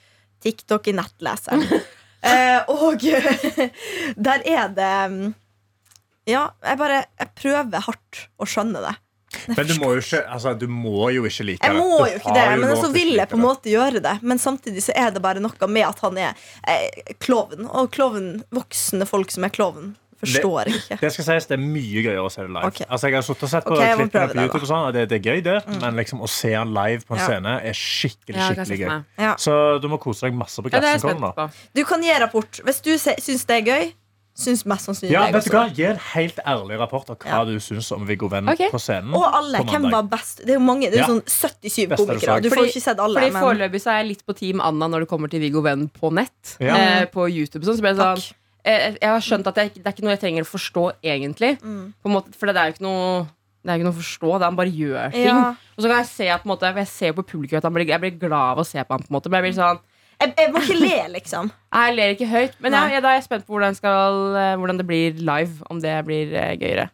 S4: TikTok i nettleseren.
S2: [laughs]
S4: eh, og [laughs] der er det mm, Ja, jeg bare Jeg prøver hardt å skjønne det.
S2: Men du må jo ikke, altså, du må jo ikke like
S4: Jeg
S2: det.
S4: må
S2: Du
S4: jo ikke
S2: har
S4: det, men
S2: lov
S4: så
S2: til å
S4: vil
S2: ikke
S4: jeg på en
S2: like
S4: måte gjøre det. Men samtidig så er det bare noe med at han er eh, klovn. Og klovn, voksne folk som er klovn, forstår jeg ikke.
S2: det. Det skal sies, det er mye gøyere å se det live.
S4: Ok.
S2: Altså, jeg har suttet og sett på
S4: Ok, jeg må
S2: klippene
S4: prøve
S2: på
S4: det, da. Mm.
S2: YouTube, og sånn, og det, det er gøy, det. Men liksom, å se han live på en
S4: Ja.
S2: scene er skikkelig
S5: Ja, det kan
S2: skikkelig
S5: jeg se for
S2: gøy.
S5: meg.
S4: Ja.
S2: Så du må kose deg masse på
S5: Ja, det er jeg
S2: Glassenkollen.
S5: spent
S2: da.
S5: på.
S4: Du kan gi rapport. Hvis du se- syns det er gøy, Syns mest sannsynlig
S2: Ja,
S4: jeg
S2: vet du
S4: også.
S2: hva? Gi en helt ærlig rapport av hva
S4: Ja.
S2: du syns om Viggo Venn
S5: Ok.
S2: på scenen.
S4: Og alle.
S2: Mm. på
S4: Hvem
S2: mandag.
S4: var best? Det er jo mange, det er
S2: Ja.
S4: jo sånn 77
S2: Beste er det
S4: komikere. Du
S2: sagt.
S4: får jo ikke sett alle.
S5: Fordi
S4: Men
S5: Foreløpig så er jeg litt på Team Anna når det kommer til Viggo Venn på nett.
S2: Ja.
S5: Eh, på YouTube og sånn. Så ble jeg sånn
S4: Takk.
S5: eh, Jeg har skjønt at jeg, ikke- det er ikke noe jeg trenger å forstå, egentlig.
S4: Mm.
S5: På en måte, for det er jo ikke noe det er jo ikke noe å forstå. Det er Han bare gjør ting.
S4: Ja.
S5: Og så kan jeg se at på en måte, jeg ser jo på publikum at han blir, jeg blir glad av å se på ham. på en måte Men Jeg blir sånn
S4: jeg, jeg må ikke le, liksom.
S5: Jeg ler ikke høyt, men
S4: Nei.
S5: jeg, jeg, da er jeg spent på hvordan, skal, eh, hvordan det blir live. Om det blir eh, gøyere.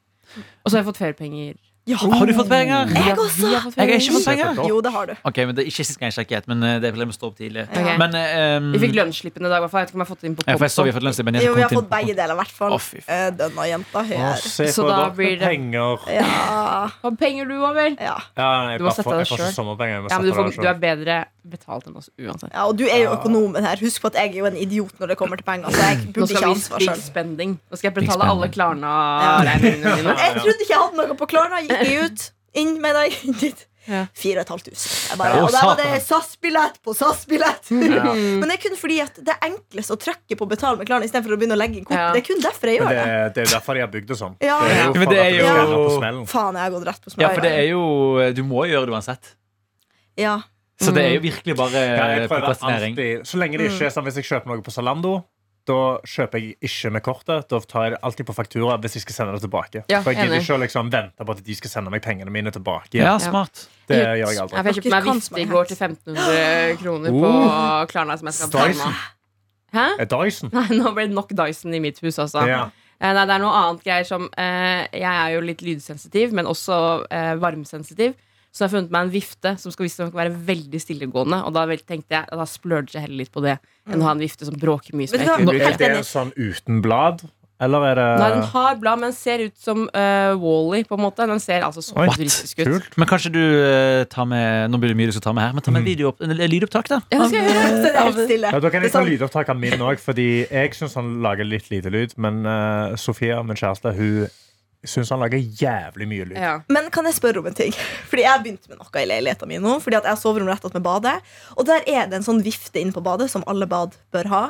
S5: Og så har jeg fått feriepenger.
S3: Har du fått penger?
S4: Jeg også!
S3: Jeg har ikke fått penger.
S4: Jo, det har du.
S3: Ok, men det er ikke sist gang jeg sjekket, men eh, det er problemet å stå opp tidlig.
S5: Ok.
S3: Men eh, um,
S5: Vi fikk lønnsslippen i dag. i hvert fall. Jeg vet ikke om jeg har fått det inn på
S3: ja, for jeg så vi har
S5: kontoen.
S3: fått lønnsstipend.
S4: Jo, vi har fått begge deler, i hvert fall.
S3: Å, fy faen.
S4: Eh, Denne jenta
S2: Å,
S4: her.
S2: se
S5: Så
S2: på
S5: da
S2: dere
S5: blir det-
S2: penger.
S4: Ja,
S5: Har penger du òg, vel?
S4: ja.
S2: Ja, jeg
S5: Du må
S2: bare
S5: sette
S2: får-
S5: deg
S2: jeg får ikke
S5: selv.
S2: sommerpenger, jeg må
S5: Ja, men du,
S2: sette
S5: får,
S2: deg
S5: du
S2: selv.
S5: er bedre betalt enn oss uansett.
S4: Ja, og du er jo økonomen her. Husk på at jeg er jo en idiot når det kommer til penger. Så jeg
S5: Nå
S4: burde
S5: skal
S4: ikke ha
S5: vi
S4: ansvar
S5: big
S4: selv.
S5: spending. Nå skal jeg
S3: Big
S5: betale alle
S3: spending. [laughs]
S5: Klarna-regningene mine.
S4: Jeg trodde ikke jeg hadde noe på Klarna. Gikk jeg ut, inn med deg, inn dit.
S5: Ja.
S4: 4500. Jeg
S3: Ja,
S4: bare, Og der var det
S3: satan.
S4: SAS-billett på SAS-billett!
S2: Ja.
S4: Men det er kun fordi at det er enklest å trykke på betal med Klarna istedenfor å begynne å legge inn kort.
S5: Ja.
S4: Det er kun derfor jeg
S2: Men
S4: gjør
S2: det,
S4: det.
S2: det er jo derfor de har bygd det sånn.
S4: Ja,
S2: Det er
S5: Ja,
S2: jo
S3: men
S2: for
S3: det er
S2: at du skal
S4: jo-
S2: ende på smellen.
S4: Faen, jeg har gått rett på
S3: Ja, for det er
S4: smøret.
S3: jo eh, Du må gjøre det uansett.
S4: Ja.
S3: Så det er jo virkelig bare eh,
S2: Ja, jeg prøver
S3: prokrastinering.
S2: alltid Så lenge det ikke
S5: Mm.
S2: er sånn Hvis jeg kjøper noe på Zalando da kjøper jeg ikke med kortet. Da tar jeg det alltid på faktura hvis jeg skal sende det tilbake.
S5: Ja,
S2: For jeg gidder
S5: enig.
S2: ikke å liksom vente på at de skal sende meg pengene mine tilbake.
S3: Ja,
S2: igjen.
S3: smart.
S2: Det gjør jeg
S5: Ja,
S2: aldri.
S5: for jeg kjøpte meg
S4: Dere kan
S5: vifte i
S4: smake hens.
S5: går til 1500 kroner på
S3: Uh.
S2: Oh.
S5: Klarna. Som jeg skal
S2: Dyson.
S5: betale. Hæ?
S2: Eh, Dyson.
S5: Nei, nå ble det nok Dyson i mitt hus, altså.
S2: Ja.
S5: Eh, Nei, det er noe annet greier som eh, Jeg er jo litt lydsensitiv, men også eh, varmsensitiv. Så jeg har funnet meg en vifte som skal visstnok være veldig stillegående. Og da vel- tenkte jeg, da splurger jeg heller litt på det enn å ha en vifte som bråker mye. Som
S4: Vet du
S5: jeg ikke
S4: hva?
S5: vil bruke.
S2: Er det en sånn uten blad, eller er det
S5: Nei, den har blad, men ser ut som uh, Wally, på en måte. Den ser altså så
S2: Oi,
S5: futuristisk ut.
S2: kult.
S3: Men kanskje du eh, tar med Nå blir det mye du skal ta med her, men ta
S2: Mm.
S3: med videoopp- en lydopptak, da.
S5: Ja, det skal jeg gjøre.
S4: Så det er helt stille.
S2: Ja, da kan
S4: Det
S2: jeg
S4: er
S3: liksom
S2: ta
S4: sånn-
S2: lydopptak av min òg, fordi jeg syns han lager litt lite lyd. Men eh, Sofia, min kjæreste, hun syns han lager jævlig mye lyd.
S5: Ja.
S4: Men kan jeg spørre om en ting? [laughs] Fordi jeg har begynt med noe i leiligheten min nå. Fordi at jeg har soverom rett attmed badet. Og der er det en sånn vifte inne på badet som alle bad bør ha.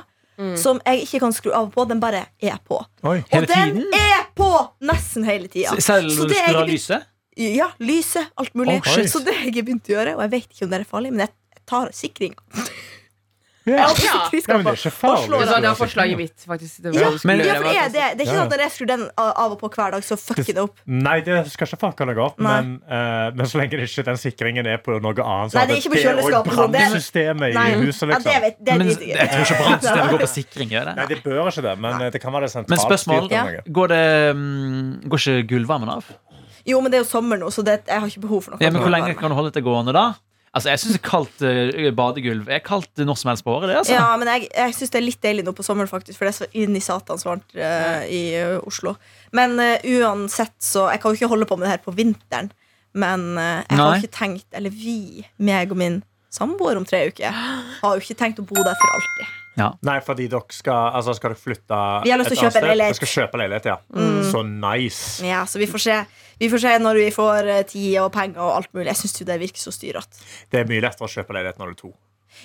S4: Som jeg ikke kan skru av og på. Den bare er på.
S2: Oi.
S3: Hele
S4: og den
S3: tiden?
S4: er på nesten hele tida.
S3: Selv når du skrur av lyset?
S4: Ja, lyset, alt mulig.
S2: Oh, shit.
S4: så det jeg har begynt å gjøre, og jeg vet ikke om det er farlig, men jeg jeg tar sikringa.
S2: Ja.
S4: Jeg
S2: Ja,
S4: har
S2: men
S4: sikringsskapet.
S2: det er ikke farlig. liksom.
S4: Og slår
S5: Vet du hva,
S4: av.
S5: Det var forslaget mitt, faktisk. Det
S4: Ja,
S5: var hva du skulle
S3: men-
S5: gjøre,
S4: Ja, for det
S5: var
S4: er
S5: at-
S4: det. det er ikke
S2: Ja, ja.
S4: sånn at når jeg skrur den av og på hver dag, så fucker det opp.
S2: Nei, det skal ikke fucke noe opp.
S4: Nei.
S2: Men, eh, men så lenge det ikke den sikringen er på noe annet.
S4: Nei, det er ikke på kjøleskapet, så det-
S2: brannsystemet i
S4: Nei,
S2: huset,
S4: ja, det
S2: liksom.
S4: vet det
S3: Men
S4: driter jeg i.
S3: jeg tror ikke brannsystemet går på sikring. Gjør
S2: Nei,
S3: det?
S2: det bør ikke det, men eh, det kan være det sentralt.
S3: Men spørsmål
S2: styrt eller noe.
S3: Går, det, mm, går ikke gulvvarmen av?
S4: Jo, men det er jo sommer nå, så det, jeg har ikke behov for noe.
S3: Ja, men Hvor
S4: varme.
S3: lenge kan du holde dette gående da? Altså, Jeg syns kaldt eh, badegulv er kaldt når som helst på året. det altså
S4: Ja, men jeg, jeg syns det er litt deilig nå på sommeren, faktisk, for det er så inn i satans varmt eh, i eh, Oslo. Men eh, uansett, så Jeg kan jo ikke holde på med det her på vinteren, men eh, jeg har
S3: Nei.
S4: ikke tenkt, eller vi, meg og min samboer om tre uker, har jo ikke tenkt å bo der for alltid.
S2: Nei, fordi dere skal Altså, skal dere flytte
S4: Vi har lyst til
S2: et annet
S4: å kjøpe en
S2: sted?
S4: leilighet.
S2: Dere skal kjøpe leilighet, ja. Så nice.
S4: Ja, Så vi får se. Vi får se når vi får eh, tid og penger og alt mulig. Jeg syns jo det virker så styrete.
S2: Det er mye lettere å kjøpe leilighet når du er to.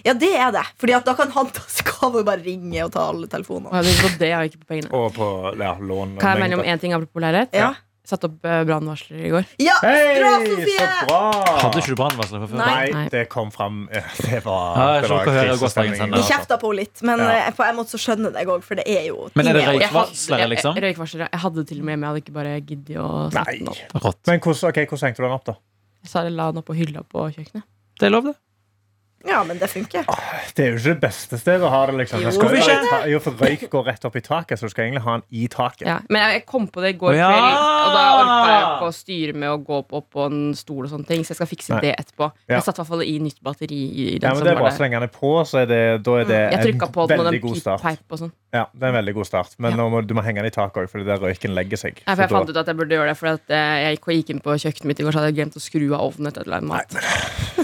S4: Ja, det er det. Fordi at da kan han ta skav og bare ringe og ta alle telefonene.
S5: Å, jeg tenkte på det, jeg har ikke på pengene.
S2: Og på ja, lån.
S5: Kan jeg melde om én ting apropos lærerhet?
S4: Ja,
S5: Satt opp eh, brannvarsler i går.
S4: ja
S2: Hei,
S4: bra,
S2: så
S4: Sofie!
S2: bra!
S3: Hadde ikke du brannvarsler fra før?
S4: Nei.
S2: Nei,
S5: Nei.
S2: det kom fram [laughs] Det
S3: Ja,
S2: var,
S3: jeg
S2: det
S3: så
S2: var
S3: dere hører
S2: krisestemning.
S3: gårsdagens ende.
S4: Vi kjefta på henne litt, men
S2: Ja.
S4: eh, på en måte så skjønner jeg deg òg, for det er jo
S3: Men er det
S4: ting
S3: røyk?
S4: jeg-
S5: Jeg hadde-
S3: Røykvarslere,
S5: jeg-
S3: liksom?
S5: jeg- Røykvarslere. Jeg hadde det til og med, men jeg hadde ikke bare giddet å sette
S2: altså. Nei.
S5: den opp.
S3: Rått.
S2: Men hvordan, ok, hvordan hengte du den opp, da?
S5: Jeg sa jeg la den opp på hylla på kjøkkenet.
S3: Det er lov, det.
S4: Ja, men det funker.
S2: Det er jo ikke det beste stedet å ha det. liksom
S4: Jo.
S2: Jeg skal-
S4: Hvorfor
S2: Jo, for Røyk går rett opp i taket, så du skal egentlig ha den i taket.
S5: Ja. Men jeg, jeg kom på det i går
S3: Å, ja!
S5: kveld, og da orka jeg ikke å styre med å gå opp, opp på en stol og sånne ting, så jeg skal fikse
S2: Nei.
S5: det etterpå.
S2: Ja.
S5: Jeg satte i hvert fall i nytt batteri i i
S2: Ja,
S5: den
S2: men
S5: som
S2: det er
S5: var
S2: bra
S5: der.
S2: Så lenge den er på, så er det, da er det
S5: Jeg
S2: en
S5: trykka på den, og
S2: veldig
S5: den
S2: god
S5: pip,
S2: start.
S5: peip og sånn.
S2: Ja, det er en veldig god start Men
S5: Ja.
S2: nå må, du må henge den i taket òg, for det er der røyken legger seg.
S5: Nei, for
S2: Så
S5: jeg
S2: da-
S5: fant ut at jeg burde gjøre det, for at eh, jeg gikk, gikk inn på kjøkkenet mitt i går, så hadde jeg glemt å skru av ovnen etter et eller annet mat.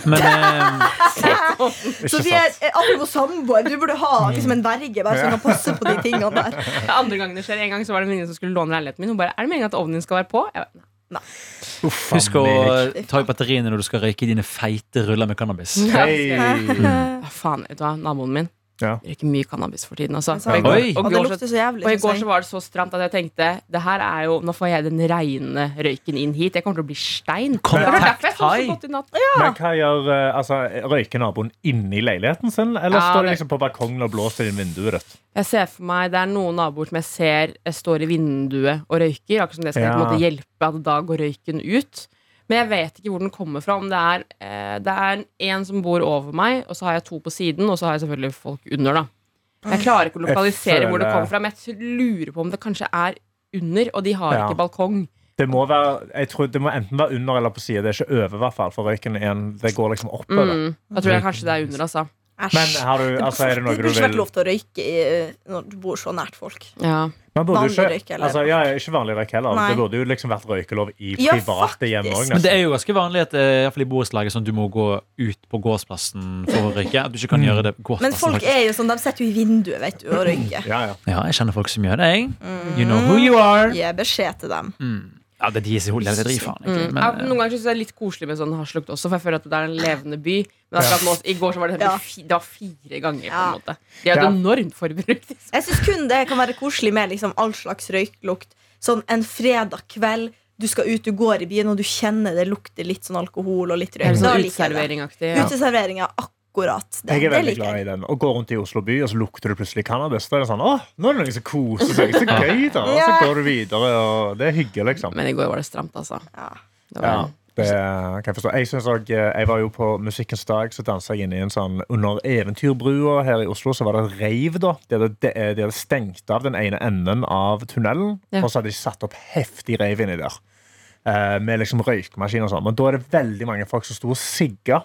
S3: Men eh,
S2: ikke
S4: Sofie,
S2: sant?
S4: eh, apropos samboer, du burde ha liksom en verge bare som kan passe på de tingene der.
S5: [laughs] Det andre gangen det skjer, en gang så var det en venninne som skulle låne leiligheten min, hun bare, er det meningen at ovnen din skal være på? Jeg bare,
S2: Uff,
S3: husk
S2: [laughs]
S3: å
S2: faen meg.
S3: eh, ta i batteriene når du skal røyke dine feite ruller med cannabis.
S5: Nei.
S2: Hei.
S5: Å, faen, vet du hva, naboen min
S2: Ja.
S5: Jeg Røyker mye cannabis for tiden, altså.
S4: sant?
S3: Oi!
S5: Og
S4: Og
S5: i
S4: det
S5: går så-
S4: lukter så jævlig.
S5: og i
S4: synes
S5: går
S4: jeg.
S5: så var det så stramt at jeg tenkte Det her er jo, nå får jeg den reine røyken inn hit. Jeg kommer til å bli stein. Det var
S3: Contact
S5: derfor jeg sov så
S3: high.
S5: godt i natt.
S2: Men hva gjør eh, altså, Røyker naboen inni leiligheten sin, eller
S5: Ja,
S2: står de
S5: det-
S2: liksom på balkongen og blåser inn vinduet ditt?
S5: Jeg ser for meg, Det er noen naboer som jeg ser eh, står i vinduet og røyker. Akkurat som det skal
S2: Ja.
S5: på en måte hjelpe at da går røyken ut. Men jeg vet ikke hvor den kommer fra. Om det er eh, Det er en som bor over meg, og så har jeg to på siden, og så har jeg selvfølgelig folk under. da Men Jeg klarer ikke å
S2: Jeg
S5: lokalisere hvor det
S2: føler-
S5: kommer fra, men jeg lurer på om det kanskje er under, og de har
S2: Ja.
S5: ikke balkong.
S2: Det må, være, jeg tror, det må enten være under eller på sida. Det er ikke over, i hvert fall. For røyken er en- det går liksom oppover.
S5: Mm. Da tror jeg kanskje det er under, altså.
S4: Æsj.
S2: Men har du,
S4: Det-
S2: altså, er det noe
S4: det
S2: du
S4: burde ikke vært
S2: vil
S4: lov til å røyke i, eh, når du bor så nært folk.
S5: Ja.
S2: Man burde jo
S4: Vanlig
S2: ikke,
S4: røyk, eller?
S2: altså, ja, ikke vanlig røyk heller.
S4: Nei.
S2: Det burde jo liksom vært røykelov i
S4: Ja,
S2: private
S4: faktisk.
S2: hjem òg.
S3: Men det er jo ganske vanlig at eh, i hvert fall i borettslaget sånn, du må gå ut på gårdsplassen for å røyke. At du
S2: Mm.
S3: ikke kan gjøre det på
S4: Men
S3: gårdsplassen.
S4: folk
S3: faktisk.
S4: er jo sånn, de sitter jo i vinduet vet du, og røyker.
S2: Ja, ja.
S3: Ja, jeg kjenner folk som gjør det, jeg. You know who you are.
S4: Gi beskjed til dem.
S3: Mm. Ja, det er de som holder det driver, faen.
S5: Mm.
S3: egentlig.
S5: ja,
S3: Men, eh,
S5: noen ganger synes jeg det er litt koselig med sånn haslukt også, for jeg føler at det er en levende by. Men akkurat nå, i går så var det,
S4: Ja.
S5: fi, det var fire ganger, på
S4: Ja.
S5: en måte. De har et
S2: Ja.
S4: [laughs]
S5: enormt forbruk. liksom.
S4: Jeg syns kun det kan være koselig med liksom, all slags røyklukt. Sånn en fredag kveld, du skal ut, du går i byen, og du kjenner det lukter litt sånn alkohol og litt røyk.
S5: Eller
S4: Da
S5: sånn
S4: liker jeg det.
S5: uteserveringaktig. Ja.
S4: Uteserveringa, akkurat. Det,
S2: Jeg er
S4: det
S2: veldig
S4: liker
S2: glad i
S4: jeg.
S2: den. Å gå rundt i Oslo by, og så lukter du plutselig cannabis. Da er det sånn, åh, nå er det noen som koser seg. Så gøy, da. Og så
S4: Ja.
S2: går du videre, og det er hygge, liksom.
S5: Men i går var det stramt, altså.
S4: Ja.
S5: Det
S2: Ja,
S5: var,
S2: det kan jeg forstå. Jeg, synes også, eh, jeg var jo på Musikkens dag, så dansa jeg inne i en sånn Under Eventyrbrua her i Oslo, så var det et reiv, da. De hadde, de eh, de hadde stengt av den ene enden av tunnelen,
S5: Ja.
S2: og så hadde de satt opp heftig reiv inni der. eh, Med liksom røykmaskin og sånn. Men da er det veldig mange folk som sto og sigga.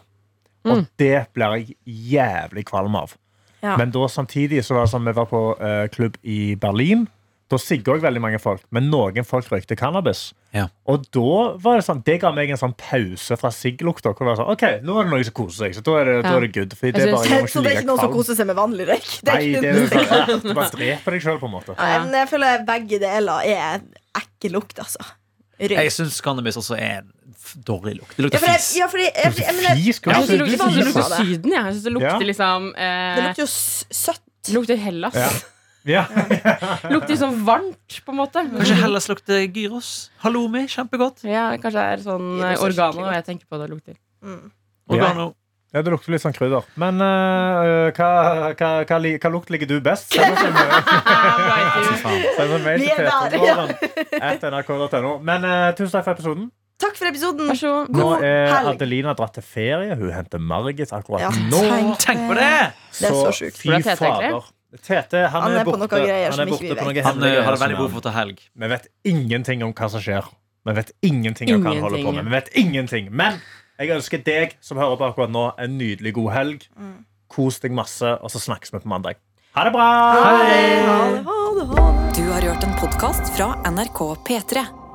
S2: Og
S4: Mm.
S2: det blir jeg jævlig kvalm av.
S4: Ja.
S2: Men da samtidig så var det sånn vi var på eh, klubb i Berlin. Da sigga òg veldig mange folk, men noen folk røykte cannabis.
S3: Ja.
S2: Og da var det sånn, det ga meg en sånn pause fra sigglukta. hvor det var Sånn, ok, nå er det noen som koser seg, så da er det, da er det good. Fordi det
S5: Jeg
S2: er bare, jeg må
S4: [laughs] Så det er
S2: ikke
S4: ikke noen
S2: like
S4: som
S2: kvalm.
S4: koser seg med vanlig røyk? Det er
S2: Nei,
S4: ikke
S2: det er jo sånn, ja, du [laughs] bare dreper deg sjøl, på en måte.
S4: Nei, men jeg føler begge deler er ekkel lukt, altså.
S3: jeg
S4: Røyk.
S3: syns cannabis også er en f- dårlig lukt. Det
S4: Ja,
S3: lukter
S4: for jeg,
S3: fis.
S4: ja, fordi, jeg, jeg, mener,
S2: Fis,
S5: jeg
S2: hva
S5: synes det
S2: sier
S5: lukter,
S2: du?
S5: jeg synes det
S4: Fis,
S5: lukter
S4: sa det.
S5: Syden, jeg. jeg. synes det
S2: Ja.
S5: lukter liksom eh,
S4: det lukter jo s- søtt.
S5: Lukter Hellas. [laughs]
S2: Ja. Ja.
S5: Lukter liksom varmt, på en måte.
S3: Kanskje Hellas lukter gyros? Halloumi, kjempegodt.
S5: Ja, kanskje det er sånn
S4: Det er så
S5: organer,
S4: skikkelig
S5: og jeg tenker på det lukter. [laughs]
S4: Mm.
S3: Organo.
S2: ja, det lukter litt sånn krydder. Men eh, hva, hva, hva, li- hva lukt liker du best? Send oss en eh,
S4: [laughs]
S5: Bra
S3: Fy
S5: intervju.
S3: faen.
S2: send oss en mail
S4: Vi
S2: til
S4: er der, ja.
S2: petermorgen at nrk.no. Men eh, tusen takk for episoden.
S4: Takk for episoden.
S5: Vær så god.
S2: Nå
S4: God
S2: er
S4: helg.
S2: Adelina dratt til ferie. Hun henter Margit akkurat
S4: Ja,
S2: nå.
S4: tenk
S3: Tenk på det!
S4: Det er så sjukt.
S2: Fy
S5: Hvordan er Tete egentlig?
S2: fader. Tete han,
S4: Han
S2: er
S4: er på
S2: borte.
S4: noen greier
S2: han
S4: som
S2: er
S4: ikke
S2: borte
S4: vi
S2: på noe
S4: vet.
S3: Han
S2: hemmelige
S3: eh, hadde
S2: greier som
S3: veldig behov for å ta helg.
S2: Vi vet ingenting om hva som skjer. Vi vet ingenting om hva han holder på med. Vi vet ingenting. Men jeg ønsker deg som hører på akkurat nå, en nydelig god helg.
S4: Mm.
S2: Kos deg masse, og så snakkes vi på mandag. Ha det bra!
S4: Ha det, ha det, ha det.
S1: Du har hørt en podkast fra NRK P3.